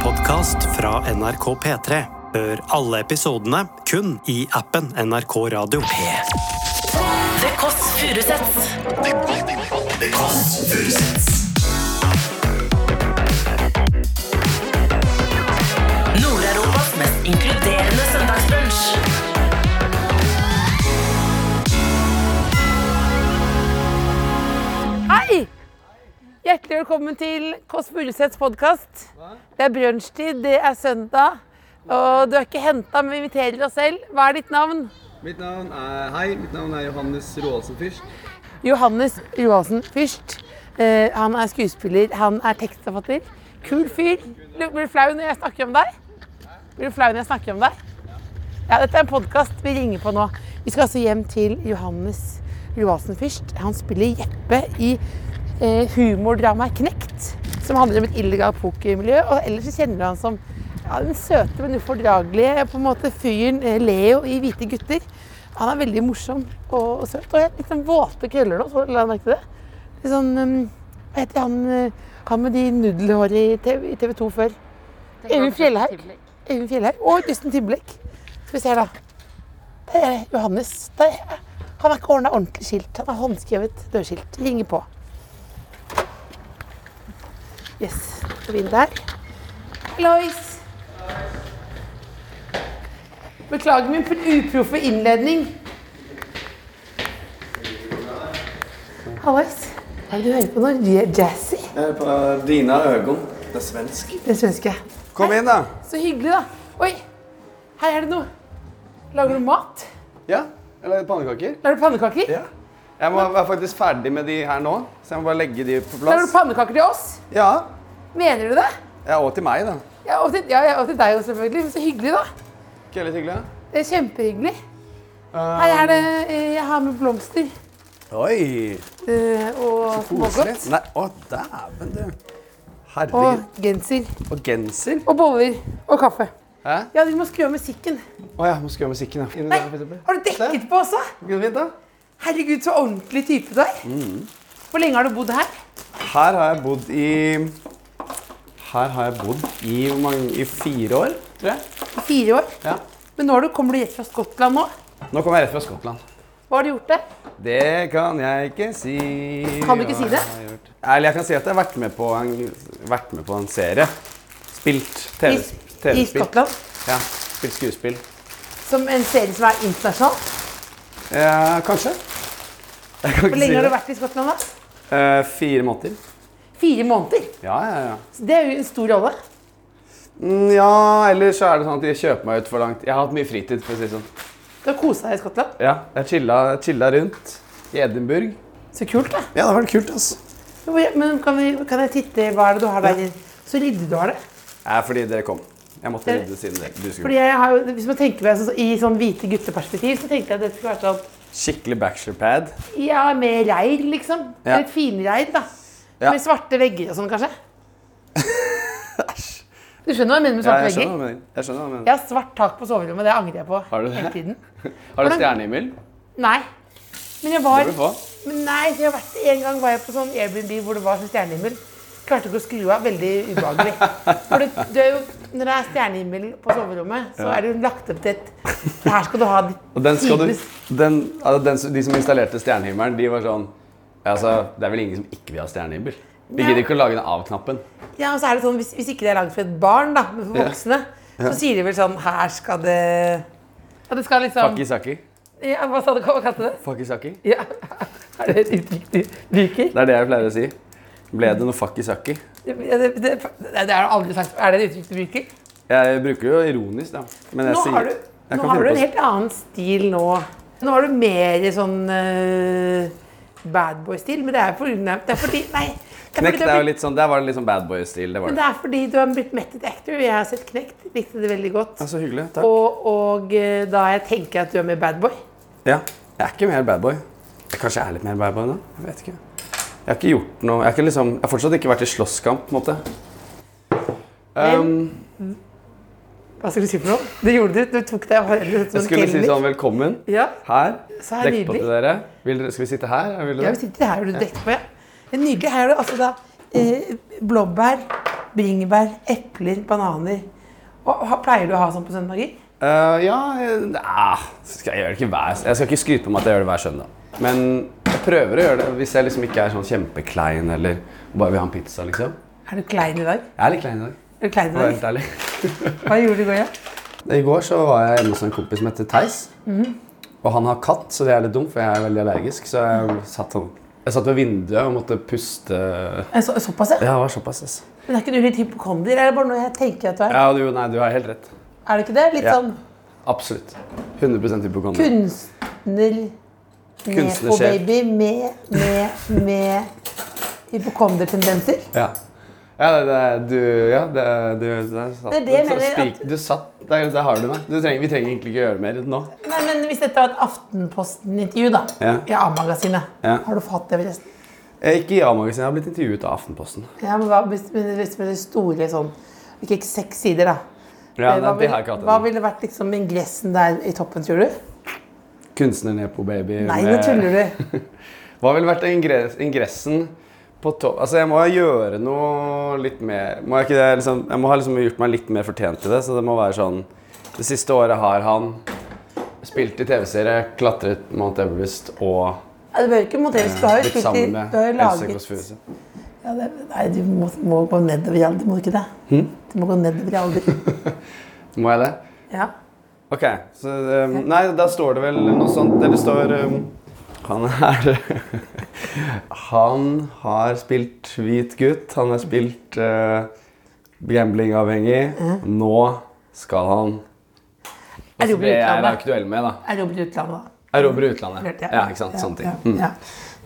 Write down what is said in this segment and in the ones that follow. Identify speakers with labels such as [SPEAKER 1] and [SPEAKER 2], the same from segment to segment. [SPEAKER 1] podkast fra NRK P3. Hør alle episodene kun i appen NRK Radio.
[SPEAKER 2] Det Kåss Furuseths. Nord-Europas mest inkluderende søndagsbrunch.
[SPEAKER 3] Hei! Hjertelig velkommen til Kåss Furuseths podkast. Det er brunsjtid, det er søndag. Og du er ikke henta, men vi inviterer oss selv. Hva er ditt navn?
[SPEAKER 4] Mitt navn er Hei, mitt navn er Johannes Roaldsen Fyrst.
[SPEAKER 3] Johannes Johansen Fyrst. Eh, han er skuespiller, han er tekstforfatter. Kul fyr. Du- Blir du flau når jeg snakker om deg? Blir du flau når jeg snakker om deg? Ja, dette er en podkast vi ringer på nå. Vi skal altså hjem til Johannes Johansen Fyrst. Han spiller Jeppe i eh, humordramaet Knekt, som handler om et illegalt pokermiljø. Og ellers så kjenner du han som ja, den søte, men ufordragelige på en måte fyren eh, Leo i Hvite gutter. Han er veldig morsom og, og søt. Og jeg har litt sånn våte krøller nå, så la jeg merke til det. Litt sånn um, Hva heter han, uh, han med de nudelhårene i TV, i TV 2 før? Øyvind Fjellhaug. Øyvind Fjellhaug og Justin Timberlake. Skal vi se her, da. Der er Johannes. Der. er- Han har ikke ordna ordentlig skilt. Han har håndskrevet dørskilt. Ringer på. Yes. Går inn der. Hallois. Beklager min uproffe innledning. Hallais. Hva er det du hører på nå? Ja- Jazzy?
[SPEAKER 4] Jeg er på Dina Øgon. Det er svensk.
[SPEAKER 3] Det svenske.
[SPEAKER 4] Kom inn, da.
[SPEAKER 3] Så hyggelig, da. Oi, her er det noe. Lager du mat?
[SPEAKER 4] Ja, jeg lagde pannekaker.
[SPEAKER 3] Lager du pannekaker?
[SPEAKER 4] Ja. Jeg må være faktisk ferdig med de her nå, så jeg må bare legge de på
[SPEAKER 3] Lager du
[SPEAKER 4] plass.
[SPEAKER 3] pannekaker til oss?
[SPEAKER 4] Ja,
[SPEAKER 3] Mener du det?
[SPEAKER 4] ja og til meg, da.
[SPEAKER 3] Ja, og til, ja, ja, og til deg også, selvfølgelig. Men så hyggelig, da.
[SPEAKER 4] Ikke veldig hyggelig?
[SPEAKER 3] Det er Kjempehyggelig.
[SPEAKER 4] Uh,
[SPEAKER 3] Her er det eh, Jeg har med blomster
[SPEAKER 4] Oi,
[SPEAKER 3] eh, og
[SPEAKER 4] koselig.
[SPEAKER 3] smågodt.
[SPEAKER 4] Nei, å dæven, du. Herregud.
[SPEAKER 3] Og genser.
[SPEAKER 4] Og genser.
[SPEAKER 3] Og boller. Og kaffe.
[SPEAKER 4] Hæ?
[SPEAKER 3] Ja, du må skru av musikken.
[SPEAKER 4] Å ja, må skru av musikken, ja. Inni
[SPEAKER 3] Nei,
[SPEAKER 4] der, for eksempel.
[SPEAKER 3] har du dekket på også?
[SPEAKER 4] Går det fint, da?
[SPEAKER 3] Herregud, så ordentlig type du er.
[SPEAKER 4] Mm.
[SPEAKER 3] Hvor lenge har du bodd her?
[SPEAKER 4] Her har jeg bodd i Her har jeg bodd i, hvor mange, i fire år, tror jeg.
[SPEAKER 3] I fire år.
[SPEAKER 4] Ja.
[SPEAKER 3] Men nå har du, kommer du rett fra Skottland nå.
[SPEAKER 4] Nå kommer jeg rett fra Skottland.
[SPEAKER 3] Hva har du gjort der?
[SPEAKER 4] Det kan jeg ikke si.
[SPEAKER 3] Kan du ikke si det?
[SPEAKER 4] hva jeg har gjort. Eller jeg kan si at jeg har vært med på en, vært med på en serie. Spilt
[SPEAKER 3] I,
[SPEAKER 4] TV-spill.
[SPEAKER 3] I Skottland.
[SPEAKER 4] Ja, spilt skuespill.
[SPEAKER 3] Som en serie som er internasjonal.
[SPEAKER 4] Ja, Eh, kanskje. Jeg kan
[SPEAKER 3] Hvor
[SPEAKER 4] ikke
[SPEAKER 3] lenge
[SPEAKER 4] si
[SPEAKER 3] har
[SPEAKER 4] det.
[SPEAKER 3] du vært i Skottland da?
[SPEAKER 4] Eh, fire måneder.
[SPEAKER 3] Fire måneder.
[SPEAKER 4] Ja, ja, ja.
[SPEAKER 3] Så det er jo en stor rolle.
[SPEAKER 4] Mm, ja, eller så er det sånn at de kjøper meg ut for langt. Jeg har hatt mye fritid, for å si det sånn.
[SPEAKER 3] Du har kosa deg i Skottland.
[SPEAKER 4] Ja, jeg chilla, chilla rundt i Edinburgh.
[SPEAKER 3] Så kult, da.
[SPEAKER 4] Ja, det var kult, altså.
[SPEAKER 3] Hvor- Men kan, vi, kan jeg titte Hva er det du har der? Så ryddig du har det.
[SPEAKER 4] Nei, fordi dere kom. Jeg måtte rydde siden dere. Du
[SPEAKER 3] Fordi
[SPEAKER 4] skulle.
[SPEAKER 3] jeg har, jo- hvis man tenker på det sånn- I sånn hvite gutteperspektiv så tenkte jeg at det skulle vært sånn
[SPEAKER 4] Skikkelig bachelorpad.
[SPEAKER 3] Ja, med reir, liksom.
[SPEAKER 4] Ja.
[SPEAKER 3] Litt finreir, da.
[SPEAKER 4] Ja.
[SPEAKER 3] Med svarte vegger og sånn, kanskje. Du skjønner hva jeg mener med
[SPEAKER 4] Ja,
[SPEAKER 3] svarte
[SPEAKER 4] jeg
[SPEAKER 3] vegger?
[SPEAKER 4] skjønner hva du mener. Jeg skjønner hva du mener.
[SPEAKER 3] Jeg har svart tak på soverommet, det angrer jeg på.
[SPEAKER 4] Har du det?
[SPEAKER 3] Hele tiden.
[SPEAKER 4] Har du
[SPEAKER 3] Hvordan-
[SPEAKER 4] stjernehimmel?
[SPEAKER 3] Nei. Men jeg
[SPEAKER 4] Det
[SPEAKER 3] var
[SPEAKER 4] bør du få.
[SPEAKER 3] men Nei, for jeg har vært, en gang var jeg på sånn Airbnb hvor det var sånn stjernehimmel. Klarte ikke å skru av. Veldig ubehagelig. For det, det er jo, når det er stjernehimmel på soverommet, så er det jo lagt opp til et Her skal du ha ditt
[SPEAKER 4] Og den skal du,
[SPEAKER 3] tidenes-
[SPEAKER 4] den, altså den, som- de som installerte stjernehimmelen, de var sånn altså, Det er vel ingen som ikke vil ha stjernehimmel? Vi
[SPEAKER 3] Nei.
[SPEAKER 4] gidder ikke å lage den av-knappen.
[SPEAKER 3] Ja, og så er det sånn, hvis, hvis ikke det er laget for et barn, da, men for
[SPEAKER 4] Ja.
[SPEAKER 3] voksne, så sier de vel sånn Her skal det Ja, det skal liksom
[SPEAKER 4] Fakisaki.
[SPEAKER 3] ja, Hva sa du? Hva kalte du det?
[SPEAKER 4] Fakisaki.
[SPEAKER 3] Ja. Er det et uttrykk du liker?
[SPEAKER 4] Det er det jeg pleier å si. Ble det noe fakisaki?
[SPEAKER 3] Ja, det, det, det, det er aldri sagt. Er det et uttrykk du bruker?
[SPEAKER 4] Jeg bruker det jo ironisk, da. Men jeg
[SPEAKER 3] Nå
[SPEAKER 4] sier
[SPEAKER 3] har du,
[SPEAKER 4] jeg
[SPEAKER 3] nå
[SPEAKER 4] kan
[SPEAKER 3] har du en
[SPEAKER 4] finne på-
[SPEAKER 3] helt annen stil nå. Nå har du mer sånn uh, badboy-stil, men det er, for, nei, det er fordi Nei. Det er fordi,
[SPEAKER 4] Knekt
[SPEAKER 3] du
[SPEAKER 4] er
[SPEAKER 3] har
[SPEAKER 4] jo
[SPEAKER 3] blitt,
[SPEAKER 4] litt sånn Der var det litt sånn bad boy-stil. Det var
[SPEAKER 3] men
[SPEAKER 4] det.
[SPEAKER 3] det er fordi du har blitt mettet actor. Jeg har sett Knekt, likte det veldig godt.
[SPEAKER 4] Ja, så hyggelig. Takk.
[SPEAKER 3] Og, og eh, da jeg tenker at du er med badboy.
[SPEAKER 4] Ja. Jeg er ikke mer badboy. Kanskje jeg er litt mer badboy nå? Jeg vet ikke. Jeg har ikke gjort noe Jeg har, ikke liksom, jeg har fortsatt ikke vært i slåsskamp, på en måte. Um,
[SPEAKER 3] Hva skulle du si for noe? Det gjorde du. Du tok deg av håret som
[SPEAKER 4] jeg
[SPEAKER 3] en
[SPEAKER 4] skulle si
[SPEAKER 3] kelner.
[SPEAKER 4] sånn velkommen.
[SPEAKER 3] Ja.
[SPEAKER 4] Her.
[SPEAKER 3] Så her
[SPEAKER 4] Dekk på
[SPEAKER 3] nydelig.
[SPEAKER 4] til dere. Vil dere. Skal vi sitte her? Vil
[SPEAKER 3] Ja,
[SPEAKER 4] dere?
[SPEAKER 3] vi sitter her, har du dekket på, ja. Det er nydelig. Her er det altså da eh, blåbær, bringebær, epler, bananer. Og ha- Pleier du å ha sånn på søndager?
[SPEAKER 4] Eh, ja eh, skal jeg, gjør det ikke hver, jeg skal ikke skryte på meg at jeg gjør det hver søndag. Men jeg prøver å gjøre det hvis jeg liksom ikke er sånn kjempeklein eller bare vil ha en pizza. liksom.
[SPEAKER 3] Er du klein i dag?
[SPEAKER 4] Jeg er litt klein i dag.
[SPEAKER 3] Er du klein i
[SPEAKER 4] for å være helt
[SPEAKER 3] dag?
[SPEAKER 4] ærlig.
[SPEAKER 3] Hva gjorde du i går, ja?
[SPEAKER 4] I går så var jeg hjemme hos en kompis som heter Theis.
[SPEAKER 3] Mhm.
[SPEAKER 4] Og han har katt, så det er litt dumt, for jeg er veldig allergisk. Så jeg satt, sånn- jeg satt ved vinduet og måtte puste.
[SPEAKER 3] En Så, såpass, ja?
[SPEAKER 4] Ja, det var såpass, altså.
[SPEAKER 3] Men er ikke du litt hypokonder? Er det bare noe jeg tenker at du er?
[SPEAKER 4] Ja, du, nei, du har helt rett.
[SPEAKER 3] Er du ikke det? Litt
[SPEAKER 4] Ja.
[SPEAKER 3] sånn
[SPEAKER 4] Absolutt. 100 hypokonder.
[SPEAKER 3] kunstner...
[SPEAKER 4] Kunstnersjef.
[SPEAKER 3] Nefo-baby med, med, med hypokondertendenser?
[SPEAKER 4] Ja. Ja, det, det, du, ja, det, du, der satt
[SPEAKER 3] Det er det jeg
[SPEAKER 4] du,
[SPEAKER 3] mener,
[SPEAKER 4] spik- Du satt, der, der har du meg. Du trenger, vi trenger egentlig ikke gjøre mer nå.
[SPEAKER 3] Nei, men Hvis dette var et Aftenposten-intervju, da,
[SPEAKER 4] Ja.
[SPEAKER 3] i A-magasinet,
[SPEAKER 4] Ja.
[SPEAKER 3] har du fått det? forresten?
[SPEAKER 4] Jeg gikk Eh, i A-magasinet, jeg har blitt intervjuet av Aftenposten.
[SPEAKER 3] Ja, men hva, hvis, men hvis det er store sånn Ikke seks sider, da.
[SPEAKER 4] Ja,
[SPEAKER 3] Eh,
[SPEAKER 4] nei,
[SPEAKER 3] hva,
[SPEAKER 4] det har jeg ikke
[SPEAKER 3] ville,
[SPEAKER 4] hatt
[SPEAKER 3] hva
[SPEAKER 4] ennå.
[SPEAKER 3] ville vært liksom ingressen der i toppen, tror du?
[SPEAKER 4] Kunstner Nepo-baby.
[SPEAKER 3] Nei, nå tuller du.
[SPEAKER 4] Hva ville vært ingre- ingressen på topp? Altså, jeg må jo gjøre noe litt mer må jeg, ikke det, liksom, jeg må ha liksom gjort meg litt mer fortjent til det, så det må være sånn Det siste året har han spilt i TV-serie, klatret Mount Everest og eh,
[SPEAKER 3] Ja, du behøver ikke montere. hvis Du har jo
[SPEAKER 4] blitt
[SPEAKER 3] spilt i
[SPEAKER 4] sammen
[SPEAKER 3] Du
[SPEAKER 4] med
[SPEAKER 3] har jo
[SPEAKER 4] Else
[SPEAKER 3] laget
[SPEAKER 4] Kåss Furuseth.
[SPEAKER 3] ja, det, Nei, du må, må gå nedover i alder, må du ikke det?
[SPEAKER 4] Hm?
[SPEAKER 3] Du må gå nedover i alder.
[SPEAKER 4] Må jeg det?
[SPEAKER 3] Ja.
[SPEAKER 4] Ok, så um, Nei, da står det vel noe sånt Eller det står um, Han er Han har spilt hvit gutt. Han har spilt uh, gamblingavhengig. Nå skal han
[SPEAKER 3] Er
[SPEAKER 4] Altså, Det jeg er
[SPEAKER 3] utlandet?
[SPEAKER 4] aktuell med, da.
[SPEAKER 3] Er jobb i utlandet, da?
[SPEAKER 4] Erobre utlandet.
[SPEAKER 3] Klart,
[SPEAKER 4] Ja, ikke sant? Sånne ting. Mm.
[SPEAKER 3] Ja,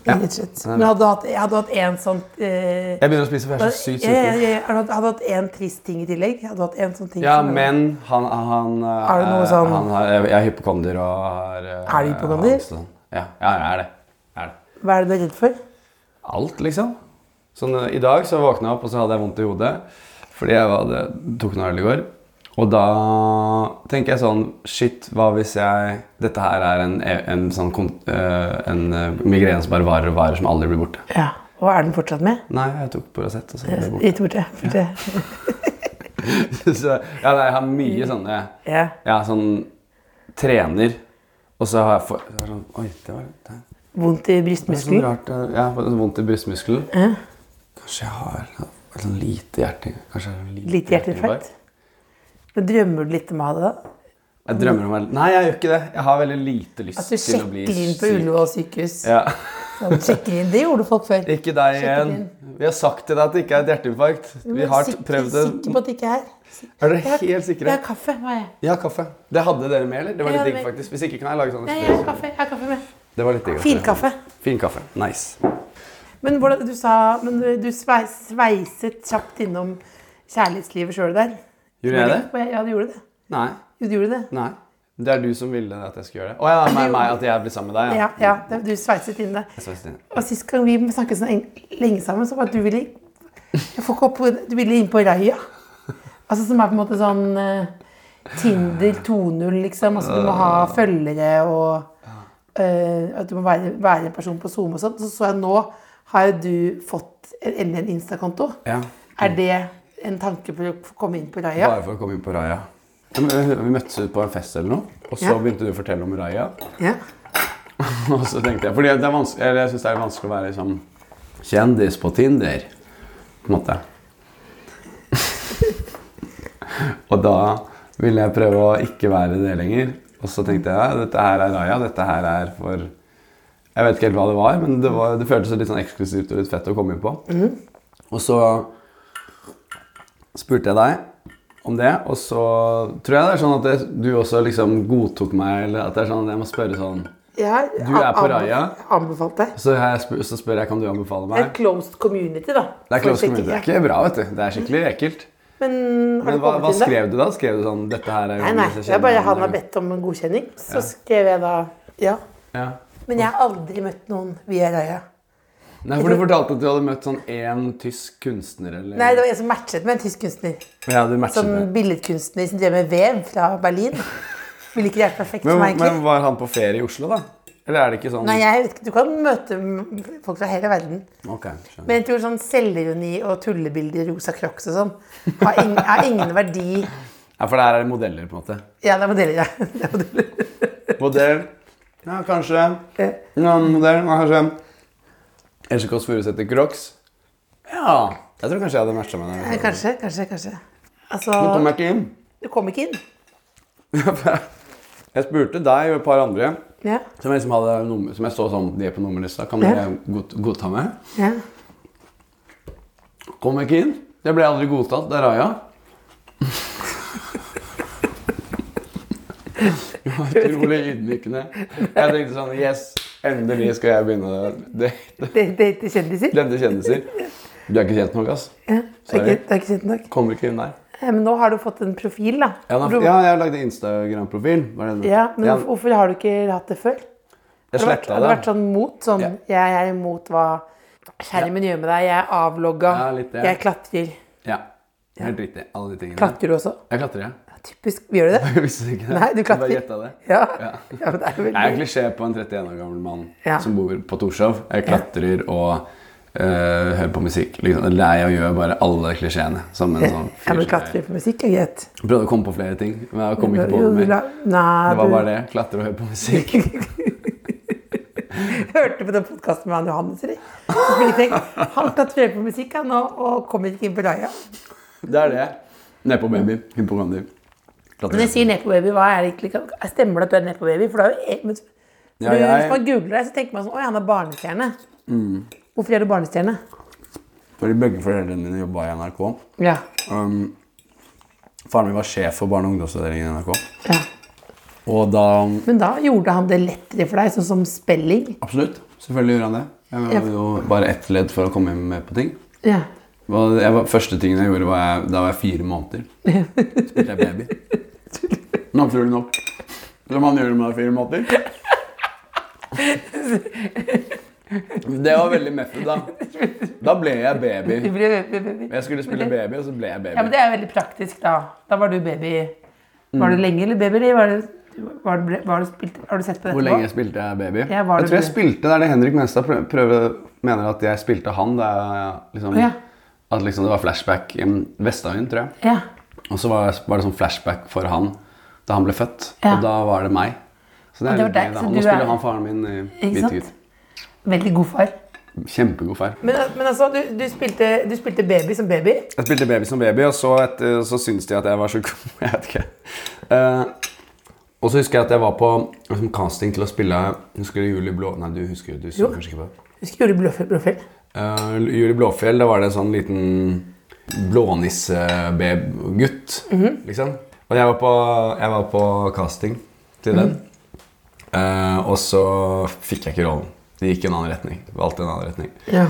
[SPEAKER 3] ja. Rett og slett. Men hadde du hatt, jeg hadde hatt en sånn eh,
[SPEAKER 4] Jeg begynner å spise, for jeg er så sykt
[SPEAKER 3] Ja, ja,
[SPEAKER 4] sulten.
[SPEAKER 3] ja, ja. Hadde du hatt- hadde du hatt en trist ting i tillegg? Hadde du hatt en sånn ting
[SPEAKER 4] Ja,
[SPEAKER 3] som-
[SPEAKER 4] men han, han, uh,
[SPEAKER 3] Er det noe sånn-
[SPEAKER 4] han har, Jeg er hypokonder og har uh,
[SPEAKER 3] Er du hypokonder?
[SPEAKER 4] angst og sånn. Ja, ja, jeg er det. Jeg er det.
[SPEAKER 3] Hva er det du er redd for?
[SPEAKER 4] Alt, liksom. Sånn, eh, I dag så våkna jeg opp og så hadde jeg vondt i hodet fordi jeg hadde, tok noe øl i går. Og da tenker jeg sånn Shit, hva hvis jeg Dette her er en, en, sånn, kon- eh, en eh, migrene som bare varer og varer, som aldri blir borte.
[SPEAKER 3] Ja, Og er den fortsatt med?
[SPEAKER 4] Nei, jeg tok Paracet, og så ble det borte.
[SPEAKER 3] Litt borte. borte.
[SPEAKER 4] så, ja, nei, jeg har mye sånne
[SPEAKER 3] Ja.
[SPEAKER 4] Jeg har sånn trener, og så har jeg for, så har jeg sånn, Oi, det var, det er-
[SPEAKER 3] Vondt i
[SPEAKER 4] det er sånn
[SPEAKER 3] brystmuskelen?
[SPEAKER 4] rart. eh, Jeg har vondt i brystmuskelen. Kanskje jeg har et sånn lite hjerte... Kanskje jeg har lite,
[SPEAKER 3] Litt hjerteinfarkt? Men drømmer du litt om å ha det? da?
[SPEAKER 4] Jeg drømmer om å være- Nei, jeg gjør ikke det. Jeg har veldig lite lyst
[SPEAKER 3] At du
[SPEAKER 4] til å bli
[SPEAKER 3] sjekker inn på
[SPEAKER 4] syk.
[SPEAKER 3] Ullevål sykehus?
[SPEAKER 4] Ja.
[SPEAKER 3] Sånn, sjekker inn. Det gjorde folk før.
[SPEAKER 4] Ikke deg
[SPEAKER 3] Sjekker
[SPEAKER 4] igjen.
[SPEAKER 3] inn.
[SPEAKER 4] Vi har sagt til deg at det ikke er et hjerteinfarkt. Vi har t-
[SPEAKER 3] Sikker-
[SPEAKER 4] prøvd det.
[SPEAKER 3] Sikker på at det ikke er?
[SPEAKER 4] Er dere helt sikre?
[SPEAKER 3] Jeg har kaffe. Hva er jeg?
[SPEAKER 4] Ja, kaffe. Det hadde dere med, eller? Det var
[SPEAKER 3] Jeg
[SPEAKER 4] litt
[SPEAKER 3] hadde
[SPEAKER 4] digg,
[SPEAKER 3] med.
[SPEAKER 4] faktisk. Hvis ikke kan jeg lage
[SPEAKER 3] Nei, jeg har
[SPEAKER 4] sånne.
[SPEAKER 3] kaffe. Jeg har kaffe med.
[SPEAKER 4] Det var litt digg.
[SPEAKER 3] Fin kaffe.
[SPEAKER 4] Fin kaffe. Nice.
[SPEAKER 3] Men hvordan, du sa men du svei- sveiset kjapt innom kjærlighetslivet sjøl der.
[SPEAKER 4] Gjorde jeg det?
[SPEAKER 3] Ja, du gjorde det.
[SPEAKER 4] Nei.
[SPEAKER 3] Jo, du gjorde det.
[SPEAKER 4] Nei. Det er du som ville at jeg skulle gjøre det. Å ja, meg, meg, at jeg blir sammen med deg.
[SPEAKER 3] Ja, ja, det- du sveiset inn det.
[SPEAKER 4] Jeg sveiset inn.
[SPEAKER 3] Og sist gang vi snakket sånn en- lenge sammen, så var det at du ville Jeg får ikke opp Du ville inn på Raya. Altså som er på en måte sånn eh, Tinder 2.0, liksom. Altså du må ha følgere og eh, At du må være, være en person på Zoom og sånn. Så så jeg nå har jo du fått en, endelig en Insta-konto.
[SPEAKER 4] Ja.
[SPEAKER 3] Er det en tanke for å få komme inn på Raya?
[SPEAKER 4] Bare for å komme inn på Raja. Ja, men, øh, Vi møttes ut på en fest eller noe, og så
[SPEAKER 3] Ja.
[SPEAKER 4] begynte du å fortelle om Raja.
[SPEAKER 3] Ja.
[SPEAKER 4] Og så tenkte jeg, fordi det er vanskelig, eller jeg synes det er vanskelig å være liksom, kjendis på Tinder, på en måte. og da ville jeg prøve å ikke være det lenger. Og så tenkte jeg, ja, dette her er Raja, dette her er for... Jeg vet ikke helt hva det var, men det, var, det føltes litt sånn eksklusivt og litt fett å komme inn på. Og så spurte jeg deg om det, og så tror jeg det er sånn at det, du også liksom godtok meg, eller at det er sånn at jeg må spørre sånn...
[SPEAKER 3] Ja,
[SPEAKER 4] Du er på
[SPEAKER 3] anbe-
[SPEAKER 4] Raya.
[SPEAKER 3] Anbefalt deg.
[SPEAKER 4] Så, har jeg spør, så spør jeg kan du anbefale
[SPEAKER 3] Det er
[SPEAKER 4] meg.
[SPEAKER 3] et closed community, da.
[SPEAKER 4] Det er close
[SPEAKER 3] For å
[SPEAKER 4] community. Det er
[SPEAKER 3] sjekke-
[SPEAKER 4] ikke bra, vet du. Det er skikkelig ekkelt.
[SPEAKER 3] Men har
[SPEAKER 4] Men
[SPEAKER 3] du
[SPEAKER 4] hva,
[SPEAKER 3] kommet
[SPEAKER 4] hva
[SPEAKER 3] inn der?
[SPEAKER 4] skrev du da? Skrev du sånn Dette her er
[SPEAKER 3] Nei, nei. Det er bare han har bedt om en godkjenning. Så skrev jeg da ja.
[SPEAKER 4] Ja.
[SPEAKER 3] Men jeg har aldri møtt noen via Raya.
[SPEAKER 4] Nei, for du fortalte at du hadde møtt sånn én tysk kunstner, eller
[SPEAKER 3] Nei, det var en som matchet med en tysk kunstner.
[SPEAKER 4] Ja, du matchet
[SPEAKER 3] Sånn
[SPEAKER 4] det.
[SPEAKER 3] billedkunstner som drev med vev fra Berlin. Ville ikke det vært perfekt for
[SPEAKER 4] Men,
[SPEAKER 3] meg,
[SPEAKER 4] men
[SPEAKER 3] egentlig.
[SPEAKER 4] var han på ferie i Oslo, da? Eller er det ikke sånn
[SPEAKER 3] Nei, jeg vet ikke, Du kan møte m- folk fra hele verden.
[SPEAKER 4] Ok, skjønner.
[SPEAKER 3] Men jeg tror sånn selvironi og tullebilder i rosa crocs og sånn har, ing, har ingen verdi.
[SPEAKER 4] ja, for der er det modeller, på en måte.
[SPEAKER 3] Ja, det er modeller, ja. Det er modeller.
[SPEAKER 4] Modell Ja, kanskje.
[SPEAKER 3] Eh,
[SPEAKER 4] Ja, modell, ja, kanskje. Else Kåss Furuseth i Crocs. Ja. Jeg tror kanskje jeg hadde matcha med deg. Nå
[SPEAKER 3] Kanskje, kanskje, kanskje. Altså,
[SPEAKER 4] kommer jeg ikke inn.
[SPEAKER 3] du kom ikke inn.
[SPEAKER 4] jeg spurte deg og et par andre
[SPEAKER 3] Ja,
[SPEAKER 4] som jeg, liksom hadde nummer, som jeg så sånn De er på nummerlista. Kan dere god, godta meg?
[SPEAKER 3] ja.
[SPEAKER 4] Kom ikke inn. Jeg ble aldri godtatt. Det er Raja. Det var Utrolig ydmykende. Jeg tenkte sånn Yes, endelig skal jeg begynne å date
[SPEAKER 3] Det, det er ikke kjendiser.
[SPEAKER 4] Glemte kjendiser. Du er ikke kjent nok, ass.
[SPEAKER 3] Ja, det er
[SPEAKER 4] Sorry.
[SPEAKER 3] ikke, det er ikke kjent nok.
[SPEAKER 4] Kommer ikke inn der.
[SPEAKER 3] Eh, Men nå har du fått en profil, da.
[SPEAKER 4] Ja, da,
[SPEAKER 3] Du-
[SPEAKER 4] ja jeg lagde Instagram-profil. var det det?
[SPEAKER 3] Ja, men
[SPEAKER 4] Ja,
[SPEAKER 3] hvorfor- hvorfor har du ikke hatt det før? Har det
[SPEAKER 4] jeg
[SPEAKER 3] vært,
[SPEAKER 4] sletta
[SPEAKER 3] har det
[SPEAKER 4] det.
[SPEAKER 3] vært sånn mot? Sånn,
[SPEAKER 4] Ja.
[SPEAKER 3] jeg er imot hva skjermen gjør med deg, jeg er avlogga,
[SPEAKER 4] Ja, litt det.
[SPEAKER 3] jeg klatrer.
[SPEAKER 4] Ja, Helt riktig. Alle de tingene.
[SPEAKER 3] Klatrer du også?
[SPEAKER 4] Jeg klatrer, ja.
[SPEAKER 3] Typisk. Gjør du det?
[SPEAKER 4] Jeg visste ikke det.
[SPEAKER 3] Nei, du
[SPEAKER 4] Jeg bare
[SPEAKER 3] klatrer.
[SPEAKER 4] gjetta det.
[SPEAKER 3] Ja.
[SPEAKER 4] Ja.
[SPEAKER 3] ja men det er jo
[SPEAKER 4] Jeg er
[SPEAKER 3] veldig
[SPEAKER 4] en klisjé på en 31 år gammel mann
[SPEAKER 3] Ja.
[SPEAKER 4] som bor på Torshov. Jeg klatrer og øh, hører på musikk. Liksom. Eller nei, jeg gjør bare alle klisjeene. Som en sånn
[SPEAKER 3] Ja, men
[SPEAKER 4] fyr som
[SPEAKER 3] klatrer på musikk er greit.
[SPEAKER 4] jeg prøvde å komme på flere ting, men jeg kom ikke på
[SPEAKER 3] Jo,
[SPEAKER 4] noe
[SPEAKER 3] du
[SPEAKER 4] mer.
[SPEAKER 3] la- Nei,
[SPEAKER 4] Det var bare
[SPEAKER 3] du
[SPEAKER 4] det. Klatre og høre på musikk.
[SPEAKER 3] hørte på den podkasten med han Johannes, eller? Så skulle jeg tenkt, Han klatrer på musikk, han, og, og kommer ikke inn på laget.
[SPEAKER 4] Det er det. Nedpå baby. Inn på Gandhi. Klatre.
[SPEAKER 3] Når jeg sier nepo-baby, hva er det egentlig? Stemmer det at du er nepo-baby? For det er jo... men-
[SPEAKER 4] Ja,
[SPEAKER 3] for du-
[SPEAKER 4] jeg-
[SPEAKER 3] Hvis
[SPEAKER 4] Mm.
[SPEAKER 3] man googler deg, så tenker man sånn, oi, han er barnestjerne. Hvorfor er du barnestjerne?
[SPEAKER 4] Fordi begge foreldrene mine jobba i NRK.
[SPEAKER 3] Ja.
[SPEAKER 4] Um, faren min var sjef for barne- og ungdomsavdelingen i NRK.
[SPEAKER 3] ja.
[SPEAKER 4] Og da um,
[SPEAKER 3] Men da gjorde han det lettere for deg, sånn som spelling.
[SPEAKER 4] Absolutt. Selvfølgelig gjorde han det. Jeg var jo bare ett ledd for å komme med på ting.
[SPEAKER 3] Ja.
[SPEAKER 4] Hva- Jeg var, første tingen jeg gjorde, var jeg, da var jeg fire måneder. Spilte jeg baby. Naturlig nok. Som man gjør når man er fire måneder. Det var veldig method, da. Da ble jeg baby.
[SPEAKER 3] Du ble baby.
[SPEAKER 4] Jeg skulle spille baby, og så ble
[SPEAKER 3] Ja,
[SPEAKER 4] jeg
[SPEAKER 3] men
[SPEAKER 4] baby.
[SPEAKER 3] det er veldig praktisk da. Da var du baby. Var
[SPEAKER 4] Mm.
[SPEAKER 3] du lenge eller baby, eller var du, var du, ble- var du spilt, har du sett på dette
[SPEAKER 4] Hvor lenge
[SPEAKER 3] nå?
[SPEAKER 4] spilte jeg baby?
[SPEAKER 3] Ja, var
[SPEAKER 4] jeg
[SPEAKER 3] det
[SPEAKER 4] tror jeg
[SPEAKER 3] baby?
[SPEAKER 4] spilte der det Henrik Menstad prø- prøver, mener at jeg spilte han. Da jeg, liksom,
[SPEAKER 3] Ja.
[SPEAKER 4] At liksom det var flashback i Vestdagen, tror jeg.
[SPEAKER 3] Ja.
[SPEAKER 4] Og så var, var det sånn flashback for han da han ble født.
[SPEAKER 3] Ja.
[SPEAKER 4] Og da var det meg. Så
[SPEAKER 3] Og
[SPEAKER 4] det er
[SPEAKER 3] det var
[SPEAKER 4] litt
[SPEAKER 3] deg, så
[SPEAKER 4] gøy, da.
[SPEAKER 3] du
[SPEAKER 4] Nå spiller
[SPEAKER 3] er-
[SPEAKER 4] han faren min i
[SPEAKER 3] Ikke
[SPEAKER 4] Hvite
[SPEAKER 3] sant?
[SPEAKER 4] gutt.
[SPEAKER 3] Veldig god far.
[SPEAKER 4] Kjempegod far.
[SPEAKER 3] Men, men altså, du, du, spilte, du spilte baby som baby.
[SPEAKER 4] Jeg spilte baby som baby, og så, et, så syntes de at jeg var så god. Jeg vet ikke. Eh, og så husker jeg at jeg var på liksom, casting til å spille Husker du Julie Blå... Nei, du husker du så
[SPEAKER 3] Jo.
[SPEAKER 4] kanskje ikke på det.
[SPEAKER 3] Husker du Blåfjell Blåfjell?
[SPEAKER 4] Eh, Julie Blåfjell, da var det en sånn liten blånisse-gutt, liksom. Og jeg var på, jeg var på casting til den. Eh, og så fikk jeg ikke rollen. Det gikk i en annen retning. Valgte en annen retning.
[SPEAKER 3] Ja.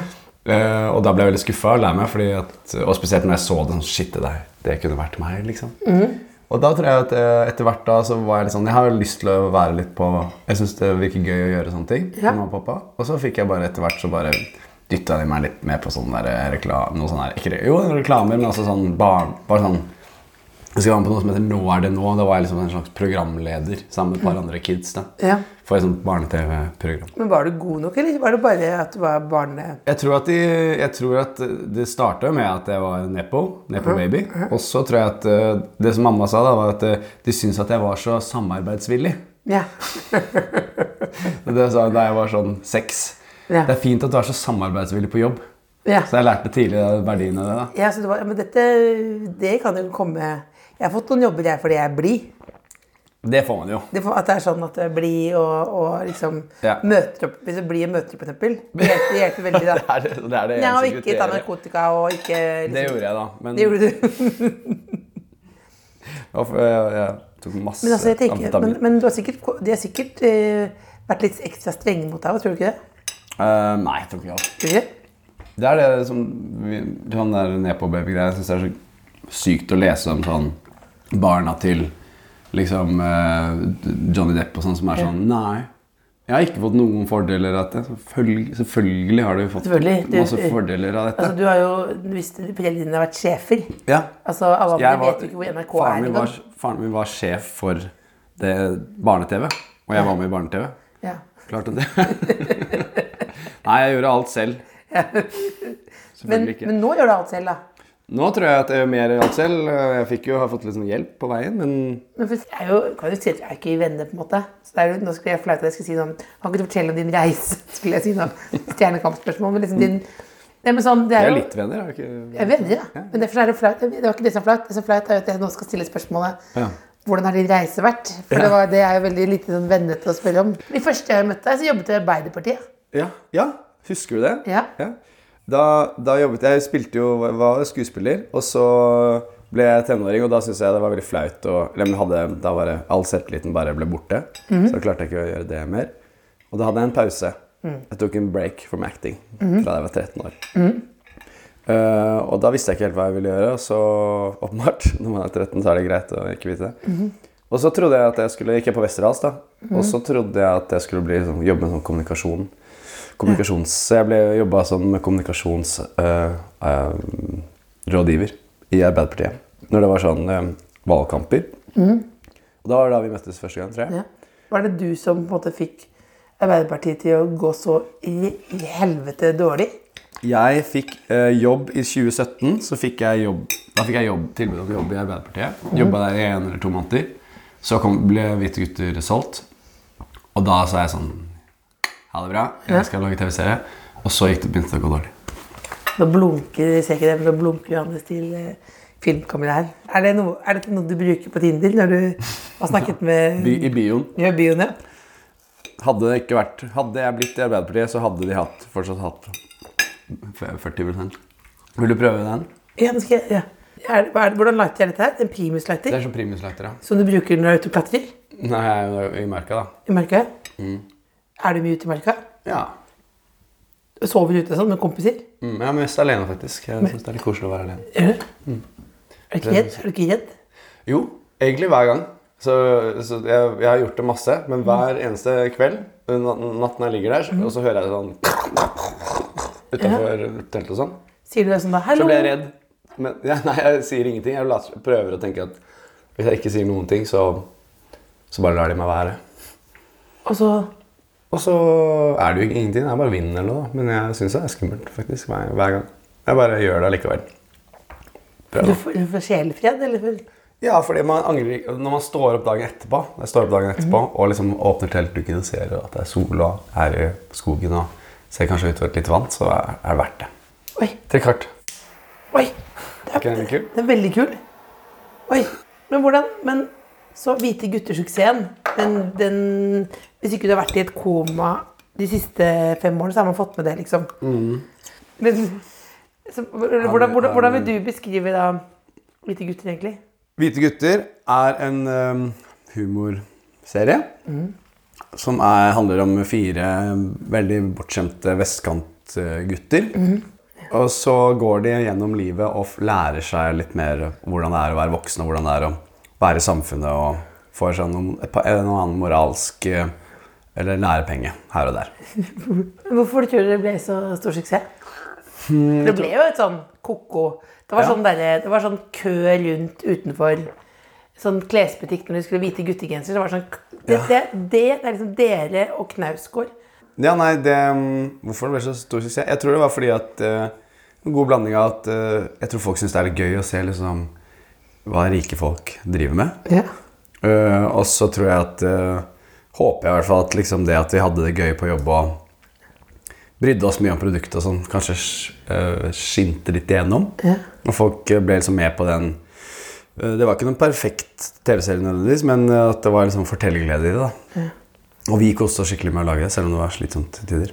[SPEAKER 4] Eh, og da ble jeg veldig skuffa og lei meg, fordi at, og spesielt når jeg så det sånn Shit, det der, det kunne vært meg, liksom.
[SPEAKER 3] Mhm.
[SPEAKER 4] Og da tror jeg at eh, etter hvert da så var jeg litt sånn Jeg har jo lyst til å være litt på Jeg syns det virker gøy å gjøre sånne ting.
[SPEAKER 3] Ja.
[SPEAKER 4] for mamma Og pappa Og så fikk jeg bare etter hvert så bare dytta de meg litt med på sånn der eh, reklame noe sånn der, ikke, re- Jo, reklamer, men altså sånn barn Bare sånn Jeg skal være med på noe som heter Nå er det nå. Da var jeg liksom en slags programleder sammen med et par andre kids. da
[SPEAKER 3] Mhm. Ja.
[SPEAKER 4] For et sånt barne-TV-program.
[SPEAKER 3] Men var du god nok, eller var det bare at du var barne...
[SPEAKER 4] Jeg tror at, de, jeg tror at det starta med at jeg var nepo, nepo baby. Og så tror jeg at eh, det som mamma sa, da, var at eh, de syntes at jeg var så samarbeidsvillig.
[SPEAKER 3] Ja.
[SPEAKER 4] Og Det sa hun da jeg var sånn seks.
[SPEAKER 3] Ja.
[SPEAKER 4] Det er fint at du er så samarbeidsvillig på jobb.
[SPEAKER 3] Ja.
[SPEAKER 4] Så jeg lærte tidlig eh, verdien av det. da.
[SPEAKER 3] ja, så det var, ja, men dette, det kan jo komme... Jeg har fått noen jobber jeg fordi jeg er blid.
[SPEAKER 4] Det får man jo.
[SPEAKER 3] Det får- at det er sånn at du er blid og, og liksom
[SPEAKER 4] Ja.
[SPEAKER 3] møter opp Hvis du blir møter opp, for eksempel. Det hjelper, det hjelper veldig,
[SPEAKER 4] Det
[SPEAKER 3] da.
[SPEAKER 4] er det, det, er det
[SPEAKER 3] Ja, og
[SPEAKER 4] eneste
[SPEAKER 3] ikke ta
[SPEAKER 4] kriteriet.
[SPEAKER 3] narkotika og ikke liksom,
[SPEAKER 4] Det gjorde jeg, da. Men
[SPEAKER 3] Det gjorde du.
[SPEAKER 4] Ja, for jeg, jeg tok masse
[SPEAKER 3] Men, altså, jeg tenker,
[SPEAKER 4] amfetamin.
[SPEAKER 3] men, men du har sikkert, de har sikkert eh, vært litt ekstra strenge mot deg, tror du ikke det?
[SPEAKER 4] Eh, nei, jeg tok ikke alt.
[SPEAKER 3] Tror du ikke? det?
[SPEAKER 4] Det er det som vi, Sånn der nepo-baby-greia. Jeg syns det er så sykt å lese om sånn barna til liksom eh, Johnny Depp og sånn, som er sånn Nei. Jeg har ikke fått noen fordeler av dette. Selvfølgelig, selvfølgelig har du fått
[SPEAKER 3] Selvfølgelig, du-
[SPEAKER 4] masse fordeler av dette.
[SPEAKER 3] Altså, du har jo visst foreldrene dine har vært sjefer.
[SPEAKER 4] ja.
[SPEAKER 3] Altså, alle andre
[SPEAKER 4] Jeg var-
[SPEAKER 3] vet jo ikke hvor NRK er
[SPEAKER 4] faren
[SPEAKER 3] liksom.
[SPEAKER 4] min
[SPEAKER 3] engang.
[SPEAKER 4] var- Faren min var sjef for det barne-TV, og jeg var med i barne-TV.
[SPEAKER 3] Ja.
[SPEAKER 4] Klarte det. Nei, jeg gjorde alt selv.
[SPEAKER 3] Men,
[SPEAKER 4] Selvfølgelig ikke.
[SPEAKER 3] men nå gjør du alt selv, da.
[SPEAKER 4] Nå tror jeg at jeg gjør mer alt selv. Jeg fikk jo ha fått litt sånn hjelp på veien, men
[SPEAKER 3] Men for jeg er jo, kan jo si at jeg er ikke venner, på en måte. Så det er jo, nå skulle jeg flaut at jeg skulle si sånn Kan ikke du fortelle om din reise? Skulle jeg si noe stjernekampspørsmål? Men liksom din Nei, men sånn, det
[SPEAKER 4] jeg
[SPEAKER 3] er
[SPEAKER 4] er
[SPEAKER 3] jo
[SPEAKER 4] litt venner. har
[SPEAKER 3] Jeg
[SPEAKER 4] Ikke...
[SPEAKER 3] er venner, da. Men derfor er det flaut. Det var ikke det som er flaut. Det som er flaut, er jo at jeg nå skal stille spørsmålet
[SPEAKER 4] Ja.
[SPEAKER 3] Hvordan har din reise vært? For
[SPEAKER 4] Ja.
[SPEAKER 3] det, var, det er jo veldig lite sånn vennete å spørre om. De første jeg møtte deg, så jobbet du i Arbeiderpartiet.
[SPEAKER 4] Ja. ja, husker du det?
[SPEAKER 3] Ja.
[SPEAKER 4] Da, da jobbet jeg spilte jo, var skuespiller, og så ble jeg tenåring, og da syntes jeg det var veldig flaut. Og, eller, men hadde, da var det, all selvtilliten bare ble borte, så da klarte jeg ikke å gjøre det mer. Og da hadde jeg en pause. Jeg tok en break from acting fra da jeg var 13 år. Eh, og da visste jeg ikke helt hva jeg ville gjøre, og så åpenbart, når man er 13, så er det greit å ikke vite det. Og så trodde jeg at jeg skulle, gikk jeg på Westerdals da, og så trodde jeg at jeg skulle bli, sånn, jobbe med sånn kommunikasjon. Kommunikasjons, så jeg ble jobba som kommunikasjonsrådgiver i Arbeiderpartiet. Når det var sånn eh, valgkamper. Og da var det da vi møttes første gang, tror jeg.
[SPEAKER 3] Ja. Var det du som på en måte fikk Arbeiderpartiet til å gå så i, i helvete dårlig?
[SPEAKER 4] Jeg fikk eh, jobb i 2017. Så fikk jeg jobb Da fikk jeg jobb, tilbud om jobb i Arbeiderpartiet. Jobba der i en eller to måneder. Så kom, ble Hvite gutter solgt. Og da sa jeg sånn Ha det bra, jeg skal lage TV-serie. Og så gikk det, begynte det å gå dårlig.
[SPEAKER 3] Nå blunker ser ikke det, men nå blunker Johannes til eh, filmkameraet her. Er, det noe, er dette noe du bruker på Tinder når du har snakket med
[SPEAKER 4] By, I bioen.
[SPEAKER 3] ja, bioen? Ja.
[SPEAKER 4] Hadde det ikke vært Hadde jeg blitt i Arbeiderpartiet, så hadde de hatt, fortsatt hatt f- 40 Vil du prøve den?
[SPEAKER 3] Ja, nå skal jeg, ja. Er, det- hva er det, hvordan lighter er dette her? En primuslighter?
[SPEAKER 4] Det er sånn primuslighter, ja.
[SPEAKER 3] Som du bruker når du er ute og klatrer?
[SPEAKER 4] Nei, jeg er jo i merka, da.
[SPEAKER 3] I marka?
[SPEAKER 4] Mm.
[SPEAKER 3] Er du mye ute i marka?
[SPEAKER 4] Ja.
[SPEAKER 3] Sover du ute sånn med kompiser?
[SPEAKER 4] Mm, jeg er mest alene, faktisk. Jeg syns det er litt koselig å være alene.
[SPEAKER 3] Gjør du?
[SPEAKER 4] Mm.
[SPEAKER 3] Er du ikke redd? Er du ikke redd?
[SPEAKER 4] Jo, egentlig hver gang. Så, så jeg, jeg har gjort det masse, men hver eneste kveld, den nat- natten jeg ligger der, så- og så hører jeg det sånn Utenfor teltet og sånn.
[SPEAKER 3] Sier du det sånn da? Hallo?
[SPEAKER 4] Så blir jeg redd. Men ja, nei, jeg sier ingenting. Jeg later, prøver å tenke at hvis jeg ikke sier noen ting, så, så bare lar de meg være.
[SPEAKER 3] Og så
[SPEAKER 4] Og så er det jo ingenting. Det er bare vind eller noe. da. Men jeg syns det er skummelt faktisk hver, hver gang. Jeg bare gjør det allikevel. Prøv
[SPEAKER 3] Du
[SPEAKER 4] da.
[SPEAKER 3] får, du får sjelefred, eller? for-
[SPEAKER 4] Ja, fordi man angrer ikke Når man står opp dagen etterpå når jeg står opp dagen etterpå og liksom åpner teltduken og ser at det er sol og er i skogen og ser kanskje utover et lite vann, så er er det verdt det.
[SPEAKER 3] Oi,
[SPEAKER 4] Trekk hardt.
[SPEAKER 3] oi! Det
[SPEAKER 4] Ikke den kul?
[SPEAKER 3] Den er veldig kul. Oi. Men hvordan Men så Hvite gutter-suksessen, den, den Hvis ikke du har vært i et koma de siste fem årene, så har man fått med det, liksom.
[SPEAKER 4] Mm.
[SPEAKER 3] Men, så, hvordan, hvordan, hvordan vil du beskrive da Hvite gutter, egentlig?
[SPEAKER 4] Hvite gutter er en øhm, humorserie som er, handler om fire veldig bortskjemte vestkantgutter. Og så går de gjennom livet og f- lærer seg litt mer hvordan det er å være voksen, og hvordan det er å være i samfunnet, og får seg noen, et par- en og annen moralsk eh, eller lærepenge her og der.
[SPEAKER 3] Hvorfor tror du det ble så stor suksess? Det ble jo et sånn ko-ko. Det var,
[SPEAKER 4] Ja.
[SPEAKER 3] sånn derre- det var sånn kø rundt utenfor sånn klesbutikk når du skulle ha hvite guttegenser. Det, var sånn, det, det, det, det er liksom dere og Knausgård.
[SPEAKER 4] Ja, nei, det, mm, Hvorfor det ble så stor suksess? Jeg tror det var fordi at eh, En god blanding av at eh, jeg tror folk syns det er litt gøy å se liksom hva rike folk driver med. Eh, og så tror jeg at eh, Håper jeg i hvert fall at liksom det at vi hadde det gøy på jobb og brydde oss mye om produktet og sånn, kanskje eh, skinte litt igjennom.
[SPEAKER 3] Ja.
[SPEAKER 4] Og folk eh, ble liksom med på den Eh, Det var ikke noen perfekt TV-serie nødvendigvis, men eh, at det var liksom fortellerglede i det. da. Og vi koste oss skikkelig med å lage det, selv om det var slitsomt til tider.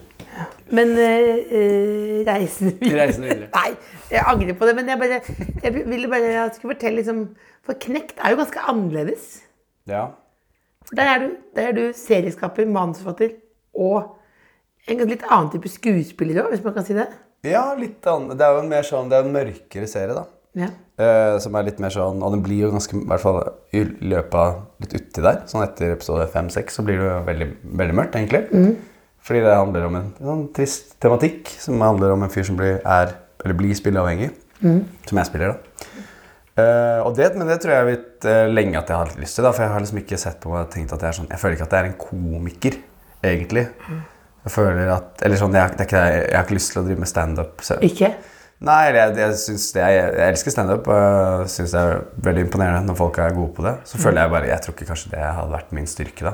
[SPEAKER 3] Men eh, eh, reisen videre
[SPEAKER 4] Reisen videre.
[SPEAKER 3] Nei, jeg angrer på det. Men jeg, bare, jeg ville bare at du skulle fortelle liksom, For Knekt er jo ganske annerledes.
[SPEAKER 4] Ja.
[SPEAKER 3] For der er du, der er du serieskaper, manusforfatter og en litt annen type skuespiller òg, hvis man kan si det.
[SPEAKER 4] litt annet. Det er jo en mer sånn, det er en mørkere serie, da.
[SPEAKER 3] Ja.
[SPEAKER 4] Eh, som er litt mer sånn, og den blir jo ganske, i hvert fall i løpet av litt uti der, sånn etter episode 5-6, så blir det jo veldig, veldig mørkt, egentlig. Fordi det handler om en sånn trist tematikk, som handler om en fyr som blir, er, eller blir spilleavhengig, som jeg spiller, da. Eh, og det, men det tror jeg har vært eh, lenge at jeg har hatt lyst til, da, for jeg har liksom ikke sett på meg og tenkt at jeg er sånn, jeg føler ikke at jeg er en komiker, egentlig. Jeg føler at Eller sånn, jeg, det er ikke, det- jeg har ikke lyst til å drive med standup. så-
[SPEAKER 3] Ikke?
[SPEAKER 4] Nei, jeg, jeg, synes det, jeg, jeg elsker standup. og Jeg syns det er veldig imponerende når folk er gode på det. Så føler jeg bare Jeg tror ikke kanskje det hadde vært min styrke, da.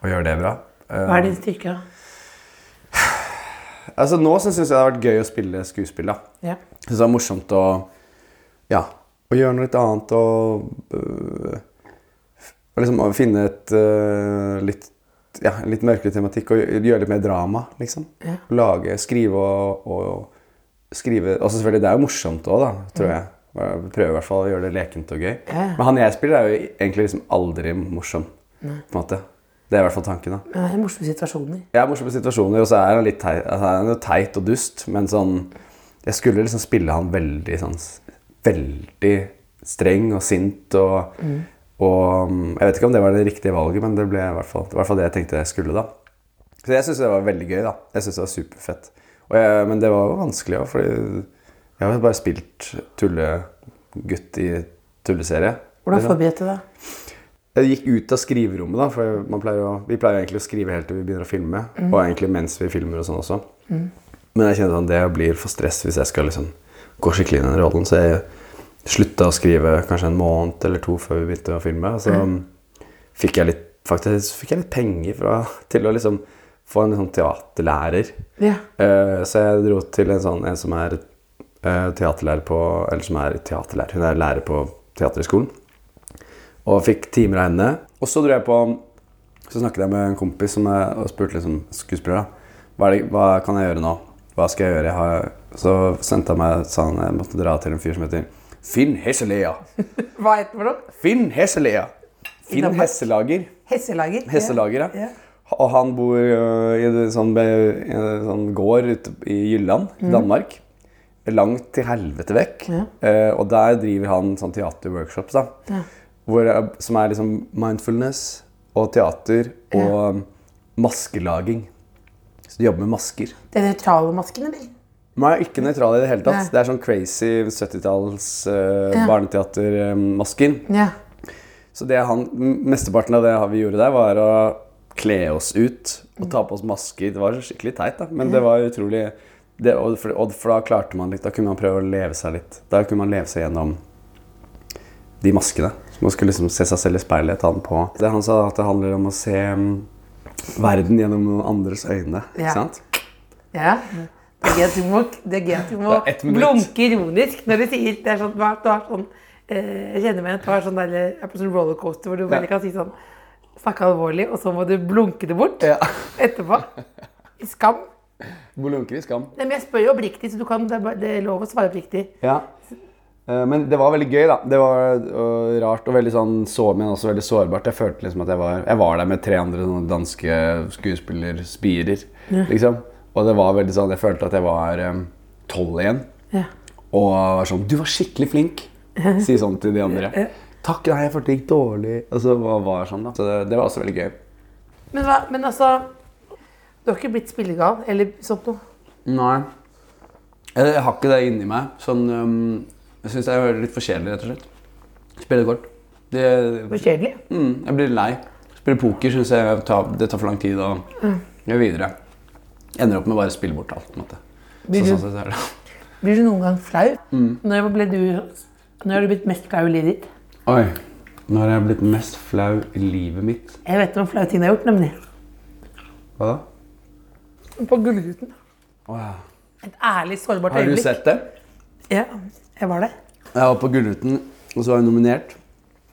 [SPEAKER 4] Å gjøre det bra. Eh,
[SPEAKER 3] Hva er din styrke? da?
[SPEAKER 4] altså, nå syns jeg det har vært gøy å spille skuespill, da.
[SPEAKER 3] Ja.
[SPEAKER 4] Jeg synes det er morsomt å Ja, å gjøre noe litt annet og øh, og liksom å finne et øh, litt ja, en litt mørkere tematikk og gjø- gjøre litt mer drama, liksom.
[SPEAKER 3] Ja.
[SPEAKER 4] Lage, skrive og, og skrive Og så selvfølgelig, det er jo morsomt òg, da, tror jeg. Jeg prøver i hvert fall å gjøre det lekent og gøy.
[SPEAKER 3] ja.
[SPEAKER 4] Men han jeg spiller, er jo egentlig liksom aldri morsom, på en måte. Det er i hvert fall tanken, da.
[SPEAKER 3] Men det er morsomme situasjoner.
[SPEAKER 4] Jeg er morsomme situasjoner, og så er han litt teit, altså, han er jo teit og dust, men sånn Jeg skulle liksom spille han veldig sånn s- Veldig streng og sint og Og mm, jeg vet ikke om det var det riktige valget, men det ble i hvert fall, det, var i hvert fall det jeg tenkte jeg skulle, da. Så jeg syns det var veldig gøy, da. Jeg synes det var superfett. Og jeg, men det var jo vanskelig òg, fordi jeg har jo bare spilt tullegutt i tulleserie.
[SPEAKER 3] Hvordan
[SPEAKER 4] Liksom.
[SPEAKER 3] forberedte du deg?
[SPEAKER 4] Jeg gikk ut av skriverommet, da, for man pleier å, vi pleier egentlig å skrive helt til vi begynner å filme. Og egentlig mens vi filmer og sånn også. Men jeg kjenner sånn, det blir for stress hvis jeg skal liksom gå skikkelig inn i den rollen. Så jeg slutta å skrive kanskje en måned eller to før vi begynte å filme. Så fikk jeg litt, faktisk fikk jeg litt penger fra, til å liksom få en sånn teaterlærer.
[SPEAKER 3] Ja.
[SPEAKER 4] Eh, så jeg dro til en sånn en som er eh, teaterlærer på Eller som er teaterlærer. Hun er lærer på teaterhøgskolen. Og fikk timer av henne. Og så dro jeg på Så snakket jeg med en kompis som er, og spurte liksom skuespiller. da, Hva, er det, hva kan jeg gjøre nå? Hva skal jeg gjøre? Jeg har, så sendte han meg sa han jeg måtte dra til en fyr som heter Finn Hesselea.
[SPEAKER 3] Hva het den for noe?
[SPEAKER 4] Finn Hesselea. Finn
[SPEAKER 3] Danmark.
[SPEAKER 4] Hesselager.
[SPEAKER 3] Hesselager. Ja.
[SPEAKER 4] Hesselager, ja.
[SPEAKER 3] ja.
[SPEAKER 4] Og han bor øh, i en sånn, be- i en sånn gård ute i Jylland,
[SPEAKER 3] Mm.
[SPEAKER 4] Danmark. Langt til helvete vekk. Eh, og der driver han sånn teaterworkshops, da. Hvor, jeg- som er liksom mindfulness og teater og maskelaging. Så de jobber med masker.
[SPEAKER 3] Den nøytrale masken, eller?
[SPEAKER 4] Nei, ikke nøytral i det hele tatt.
[SPEAKER 3] Nei.
[SPEAKER 4] Det er sånn crazy 70-talls øh,
[SPEAKER 3] Ja.
[SPEAKER 4] barneteatermasker.
[SPEAKER 3] Ja.
[SPEAKER 4] Så det han, m- mesteparten av det vi gjorde der, var å kle oss ut og ta på oss masker. Det var skikkelig teit, da, men det var utrolig det, og, for, og for da klarte man litt. Da kunne man prøve å leve seg litt. Da kunne man leve seg gjennom de maskene. Så man skulle liksom se seg selv i speilet, ta den på. Det Han sa at det handler om å se mm, verden gjennom noen andres øyne.
[SPEAKER 3] Ja.
[SPEAKER 4] Ikke sant?
[SPEAKER 3] ja. Det er gøy at du må, det er gøy at du må
[SPEAKER 4] Det er ett minutt.
[SPEAKER 3] blunke ironisk når du sier det er sånn, du har, du har sånn eh, Jeg kjenner meg igjen. Du har sånn der, jeg er på sånn rollercoaster hvor du bare kan si sånn Snakke alvorlig, og så må du blunke det bort
[SPEAKER 4] Ja.
[SPEAKER 3] etterpå. I skam.
[SPEAKER 4] Bolunker i skam.
[SPEAKER 3] Nei, men jeg spør jo oppriktig, så du kan, det, er bare, det er lov å svare oppriktig.
[SPEAKER 4] Ja. Eh, Men det var veldig gøy, da. Det var øh, rart og veldig sånn sår, men også veldig sårbart. Jeg følte liksom at jeg var, jeg var der med tre andre sånne danske skuespillerspirer. Liksom. Og det var veldig sånn, jeg følte at jeg var eh, tolv igjen.
[SPEAKER 3] Ja.
[SPEAKER 4] Og var sånn Du var skikkelig flink! Si sånn til de andre. Takk, nei, jeg følte det gikk dårlig. Og så var, var sånn, da. Så det, det var også veldig gøy.
[SPEAKER 3] Men, hva, men altså Du har ikke blitt spillegal eller sånt noe?
[SPEAKER 4] Nei. Jeg, jeg har ikke det inni meg. Sånn, øhm, jeg syns jeg er litt for kjedelig, rett og slett. Spille kort. Det,
[SPEAKER 3] For kjedelig?
[SPEAKER 4] Mm, jeg blir lei. Spille poker syns jeg tar, det tar for lang tid. Og
[SPEAKER 3] Mm.
[SPEAKER 4] gjør videre. Ender opp med bare å spille bort alt. på en måte. Så, Mm.
[SPEAKER 3] Blir
[SPEAKER 4] sånn
[SPEAKER 3] du,
[SPEAKER 4] sett er det.
[SPEAKER 3] blir du noen gang flau? Når, ble du, når har du blitt mest flau i livet ditt?
[SPEAKER 4] Oi. Nå har jeg blitt mest flau i livet mitt.
[SPEAKER 3] Jeg vet om flaue ting du har gjort, nemlig.
[SPEAKER 4] Hva da?
[SPEAKER 3] På Gullruten. Et ærlig, sårbart
[SPEAKER 4] Har du
[SPEAKER 3] øyeblikk.
[SPEAKER 4] sett det?
[SPEAKER 3] Ja, jeg var det.
[SPEAKER 4] Jeg var på Gullruten, og så var jeg nominert.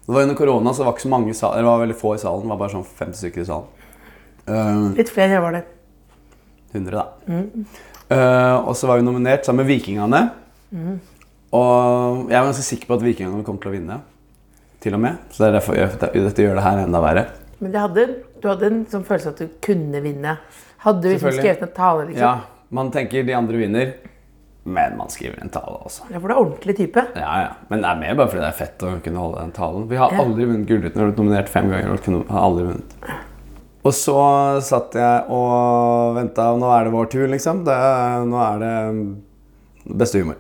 [SPEAKER 4] Det var Under korona så det var ikke så mange i salen, det var veldig få i salen. Det var bare sånn 50 stykker i salen. Eh,
[SPEAKER 3] Litt flere enn jeg var det.
[SPEAKER 4] 100, da. Eh, og så var vi nominert sammen med Vikingene. Og jeg var ganske sikker på at Vikingene kom til å vinne. Til og med. Så det er derfor jeg, dette gjør det her enda verre.
[SPEAKER 3] Men det hadde, du hadde en sånn følelse at du kunne vinne. Hadde du liksom
[SPEAKER 4] Selvfølgelig.
[SPEAKER 3] skrevet en tale, liksom?
[SPEAKER 4] Ja, Man tenker de andre vinner, men man skriver en tale også.
[SPEAKER 3] Ja, for du er ordentlig type.
[SPEAKER 4] Ja, ja. Men det er mer bare fordi det er fett å kunne holde den talen. Vi har
[SPEAKER 3] Ja.
[SPEAKER 4] aldri vunnet Gullruten. Har blitt nominert fem ganger og kunne- har aldri vunnet. Og så satt jeg og venta. Nå er det vår tur, liksom. Det, er- nå er det mm, beste humor.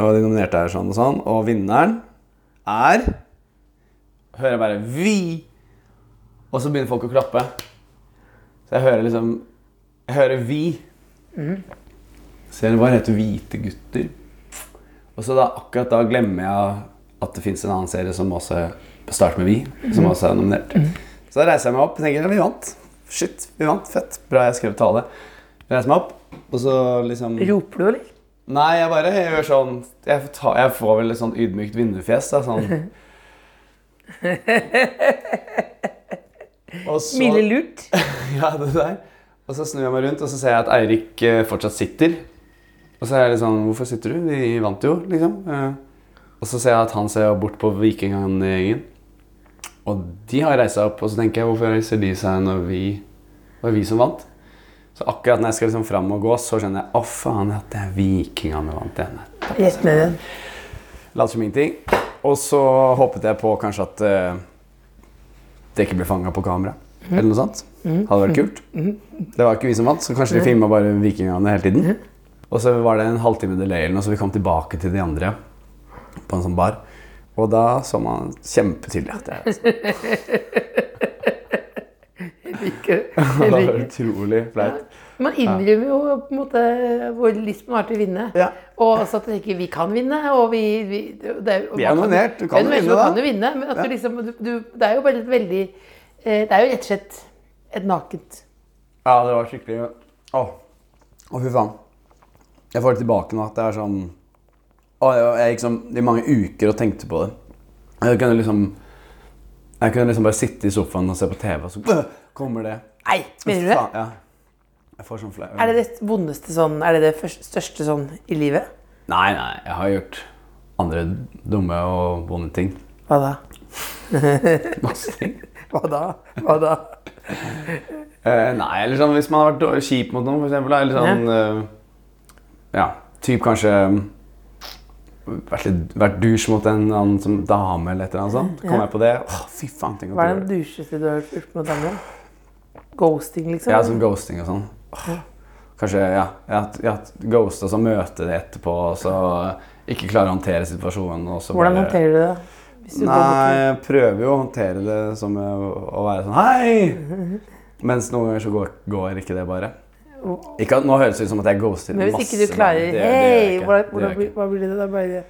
[SPEAKER 4] Og de nominerte er sånn og sånn. Og vinneren er Hører jeg bare Vi! Og så begynner folk å klappe. Så jeg hører liksom Jeg hører vi. Ser bare heter Hvite gutter. Og så da, akkurat da glemmer jeg at det fins en annen serie som også starter med Vi. Som også er nominert. Så da reiser jeg meg opp og tenker vi vant. Shit, vi vant. Fett. Bra jeg skrev tale. Jeg reiser meg opp, og så liksom
[SPEAKER 3] Roper du, eller?
[SPEAKER 4] Nei, jeg bare gjør sånn Jeg, får ta, jeg får vel et sånn ydmykt vinnerfjes. Da, sånn. Og så-
[SPEAKER 3] Mille lurt.
[SPEAKER 4] ja, det der. Og så snur jeg meg rundt, og så ser jeg at Eirik eh, fortsatt sitter. Og så er jeg litt sånn Hvorfor sitter du? Vi vant jo, liksom. Eh, Og så ser jeg at han ser bort på vikinggjengen. Og de har reist seg opp, og så tenker jeg hvorfor reiser de seg når vi det var vi som vant? Så akkurat når jeg skal liksom fram og gå, så skjønner jeg å faen, at det er vikingene vant igjen.
[SPEAKER 3] Rett ned igjen.
[SPEAKER 4] Later som ingenting. Og så håpet jeg på kanskje at eh, det ikke ble fanga på kamera. Eller noe sånt. Hadde vært kult. Det var ikke vi som vant, så kanskje de filma bare vikingene hele tiden. Og så var det en halvtime delay, eller noe, så vi kom tilbake til de andre på en sånn bar. Og da så man kjempetydelig at det er
[SPEAKER 3] Ikke.
[SPEAKER 4] det var utrolig flaut.
[SPEAKER 3] Man innrømmer jo på en måte hvor lyst man har til å vinne.
[SPEAKER 4] Ja.
[SPEAKER 3] Og også at man ikke vi kan vinne. Og vi, vi, det er, og
[SPEAKER 4] Vi er
[SPEAKER 3] man kan-
[SPEAKER 4] nominert, du kan
[SPEAKER 3] Ja,
[SPEAKER 4] jo
[SPEAKER 3] nominert,
[SPEAKER 4] vinne, da.
[SPEAKER 3] du kan jo vinne. Men at du liksom, du, du, det er jo bare et veldig eh, Det er jo rett og slett et nakent
[SPEAKER 4] Ja, det var skikkelig Å, å fy faen. Jeg får det tilbake nå at det er sånn Å, jeg, jeg gikk sånn i mange uker og tenkte på det. Jeg kunne liksom Jeg kunne liksom bare sitte i sofaen og se på TV, og så øh, kommer det.
[SPEAKER 3] Nei, mener du det?
[SPEAKER 4] Faen, ja. Jeg får sånn flau
[SPEAKER 3] Er det det vondeste sånn Er det det først- største sånn i livet?
[SPEAKER 4] Nei, nei, jeg har gjort andre dumme og vonde ting.
[SPEAKER 3] Hva da?
[SPEAKER 4] Masse ting.
[SPEAKER 3] Hva da? Hva da?
[SPEAKER 4] Eh, nei, eller sånn hvis man har vært dårlig- kjip mot noen, for eksempel. da, Eller sånn eh, Ja, typ kanskje mm, vært, litt, vært dusj mot en annen som dame eller et eller annet sånt. Kom jeg på det? Åh, fy faen, tenk
[SPEAKER 3] Hva
[SPEAKER 4] at
[SPEAKER 3] er
[SPEAKER 4] du
[SPEAKER 3] den
[SPEAKER 4] gjør det.
[SPEAKER 3] dusjeste du har gjort mot damer? Ghosting, liksom?
[SPEAKER 4] Ja, sånn ghosting og sånn. Åh, Kanskje, ja. Jeg har hatt- jeg har hatt ghost, og så møte det etterpå, og så ikke klare å håndtere situasjonen. Og så
[SPEAKER 3] Hvordan
[SPEAKER 4] bare-
[SPEAKER 3] håndterer du det? Hvis du går
[SPEAKER 4] Nei,
[SPEAKER 3] bort
[SPEAKER 4] jeg prøver jo å håndtere det som eh, å være sånn Hei! Mens noen ganger så går, går ikke det bare. Ikke at, nå høres det ut som at jeg ghoster
[SPEAKER 3] til- Men hvis
[SPEAKER 4] masse
[SPEAKER 3] ikke du klarer
[SPEAKER 4] damer. Det- det gjør jeg
[SPEAKER 3] Hei!
[SPEAKER 4] ikke.
[SPEAKER 3] hvordan-
[SPEAKER 4] Det gjør
[SPEAKER 3] hvordan
[SPEAKER 4] jeg
[SPEAKER 3] blir-
[SPEAKER 4] ikke.
[SPEAKER 3] Hva blir det da? Bare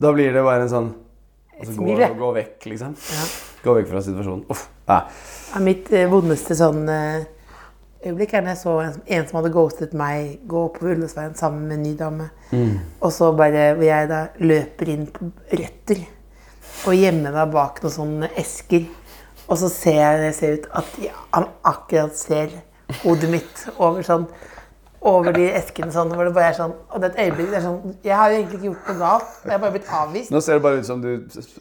[SPEAKER 4] Da blir det bare en sånn og så
[SPEAKER 3] smil,
[SPEAKER 4] gå,
[SPEAKER 3] ja.
[SPEAKER 4] gå vekk, liksom. Gå vekk fra situasjonen. Uff. Nei.
[SPEAKER 3] Ja, mitt eh, vondeste sånn eh, øyeblikk er når jeg så en, som- en som hadde ghostet meg gå på Ullesveien sammen med en ny dame.
[SPEAKER 4] Mm.
[SPEAKER 3] Og så bare hvor jeg da løper inn på røtter og gjemmer meg bak noen sånne esker. Og så ser jeg når jeg ser ut at ja, han akkurat ser hodet mitt over sånn over de eskene sånn, hvor det bare er sånn Og det er et øyeblikk det er sånn Jeg har jo egentlig ikke gjort noe galt. Jeg har bare blitt avvist.
[SPEAKER 4] Nå ser det bare ut som du,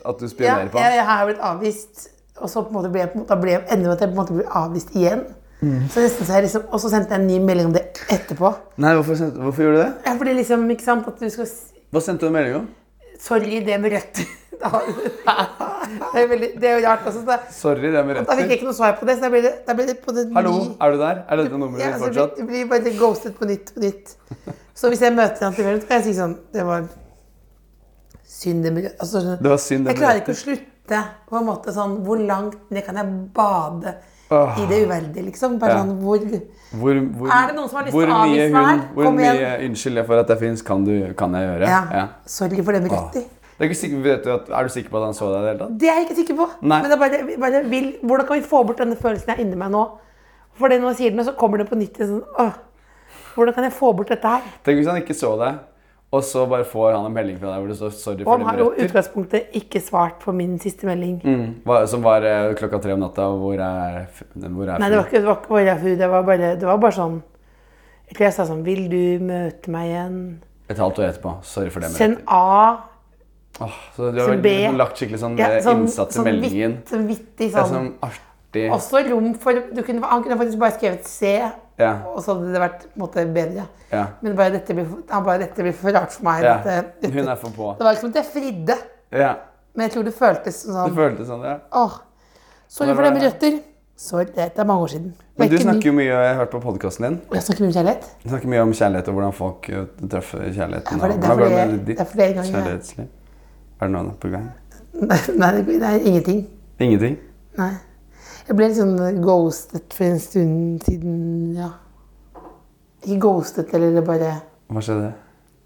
[SPEAKER 4] at du
[SPEAKER 3] Ja,
[SPEAKER 4] spionerer på
[SPEAKER 3] jeg,
[SPEAKER 4] ham.
[SPEAKER 3] jeg har blitt avvist, og så på en måte ble jeg, på en måte, da ble jeg, ender det med at jeg på en måte blir avvist igjen.
[SPEAKER 4] Mm.
[SPEAKER 3] Så nesten så jeg liksom, og så sendte jeg en ny melding om det etterpå.
[SPEAKER 4] Nei, hvorfor, sendte- hvorfor gjorde du det?
[SPEAKER 3] Ja, fordi liksom, ikke sant, at du skal s-
[SPEAKER 4] Hva sendte du en melding om?
[SPEAKER 3] Sorry, det med rødt. Da- det, er veldig, det er jo rart. Altså, da,
[SPEAKER 4] Sorry, det med
[SPEAKER 3] da fikk jeg
[SPEAKER 4] røtter.
[SPEAKER 3] ikke noe svar på det, så da ble det, da ble det på det
[SPEAKER 4] Hallo, er du der? Er dette nummeret
[SPEAKER 3] Ja,
[SPEAKER 4] ditt
[SPEAKER 3] så blir,
[SPEAKER 4] fortsatt?
[SPEAKER 3] det blir bare ghostet på nytt på nytt. Så hvis jeg møter han til kvelden, så kan jeg si sånn Det var synd det med rødt. Altså, sånn-
[SPEAKER 4] Det var synd det
[SPEAKER 3] Jeg
[SPEAKER 4] med
[SPEAKER 3] klarer ikke å
[SPEAKER 4] røtter.
[SPEAKER 3] slutte på en måte sånn Hvor langt ned kan jeg bade
[SPEAKER 4] Åh.
[SPEAKER 3] i det uverdige, liksom? Bare
[SPEAKER 4] Ah. Ja.
[SPEAKER 3] sånn hvor
[SPEAKER 4] Hvor, hvor,
[SPEAKER 3] Er det noen som har lyst
[SPEAKER 4] hvor
[SPEAKER 3] til å
[SPEAKER 4] mye
[SPEAKER 3] avvise meg her?
[SPEAKER 4] Hvor
[SPEAKER 3] Kom
[SPEAKER 4] mye
[SPEAKER 3] igjen.
[SPEAKER 4] unnskyld jeg for at jeg fins, kan, du- kan jeg gjøre?
[SPEAKER 3] Ja.
[SPEAKER 4] Ja. Ah.
[SPEAKER 3] Sorry for det med røtter.
[SPEAKER 4] Det er, ikke sikker, vet du at, er du sikker på at han så deg i det hele tatt?
[SPEAKER 3] Det er jeg ikke sikker på.
[SPEAKER 4] Nei.
[SPEAKER 3] Men det er bare, jeg bare vil, hvordan kan vi få bort denne følelsen jeg er inni meg nå? For det når jeg sier den, så kommer det på nytt. Sånn, åh, hvordan kan jeg få bort dette her?
[SPEAKER 4] Tenk hvis han ikke så deg, og så bare får han en melding fra deg hvor det står 'sorry
[SPEAKER 3] Og
[SPEAKER 4] for
[SPEAKER 3] han
[SPEAKER 4] dine
[SPEAKER 3] har jo i
[SPEAKER 4] røtter',
[SPEAKER 3] utgangspunktet ikke svart på min siste melding.
[SPEAKER 4] Hva- som var eh, klokka tre om natta, og hvor er, f- hvor er
[SPEAKER 3] Nei, det var ikke, det var ikke bare fru, det var bare, det var bare sånn Jeg tror jeg sa sånn Vil du møte meg igjen?
[SPEAKER 4] Et halvt år etterpå. Sorry for det. med
[SPEAKER 3] Send
[SPEAKER 4] røtter.
[SPEAKER 3] A.
[SPEAKER 4] Åh, så du har
[SPEAKER 3] send B.
[SPEAKER 4] liksom lagt skikkelig sånn,
[SPEAKER 3] Ja,
[SPEAKER 4] eh,
[SPEAKER 3] sånn-
[SPEAKER 4] innsats i
[SPEAKER 3] sånn
[SPEAKER 4] meldingen.
[SPEAKER 3] vitt- Sånn vittig
[SPEAKER 4] Det
[SPEAKER 3] sånn.
[SPEAKER 4] er sånn artig
[SPEAKER 3] Også rom for du kunne, Han kunne faktisk bare skrevet C,
[SPEAKER 4] Ja.
[SPEAKER 3] og så hadde det vært på en måte bedre.
[SPEAKER 4] Ja.
[SPEAKER 3] Men bare dette blir, for- han bare 'Dette blir for rart for meg'.
[SPEAKER 4] ja.
[SPEAKER 3] Dette, dette.
[SPEAKER 4] Hun er for på.
[SPEAKER 3] Det var liksom at jeg fridde,
[SPEAKER 4] Ja.
[SPEAKER 3] men jeg tror det føltes som
[SPEAKER 4] Det
[SPEAKER 3] sånn
[SPEAKER 4] føltes sånn, ja.
[SPEAKER 3] Åh, sorry
[SPEAKER 4] Det
[SPEAKER 3] for
[SPEAKER 4] var-
[SPEAKER 3] det med røtter. Sorry, det er mange år siden. Det er
[SPEAKER 4] Men du
[SPEAKER 3] ikke ny-
[SPEAKER 4] snakker jo mye jeg har hørt på podkasten din.
[SPEAKER 3] Jeg snakker mye om kjærlighet.
[SPEAKER 4] Du snakker mye om kjærlighet og hvordan folk eh, treffer
[SPEAKER 3] Ja,
[SPEAKER 4] kjærligheten.
[SPEAKER 3] for det-
[SPEAKER 4] og
[SPEAKER 3] det er
[SPEAKER 4] hvordan går
[SPEAKER 3] fordi-
[SPEAKER 4] med ditt
[SPEAKER 3] det er fordi jeg en gang-
[SPEAKER 4] Kjærlighetsliv. Er det noe på gang?
[SPEAKER 3] Nei, det er ingenting.
[SPEAKER 4] Ingenting?
[SPEAKER 3] Nei. Jeg ble litt sånn ghostet for en stund siden, ja. Ikke ghostet, eller det bare
[SPEAKER 4] Hva skjedde?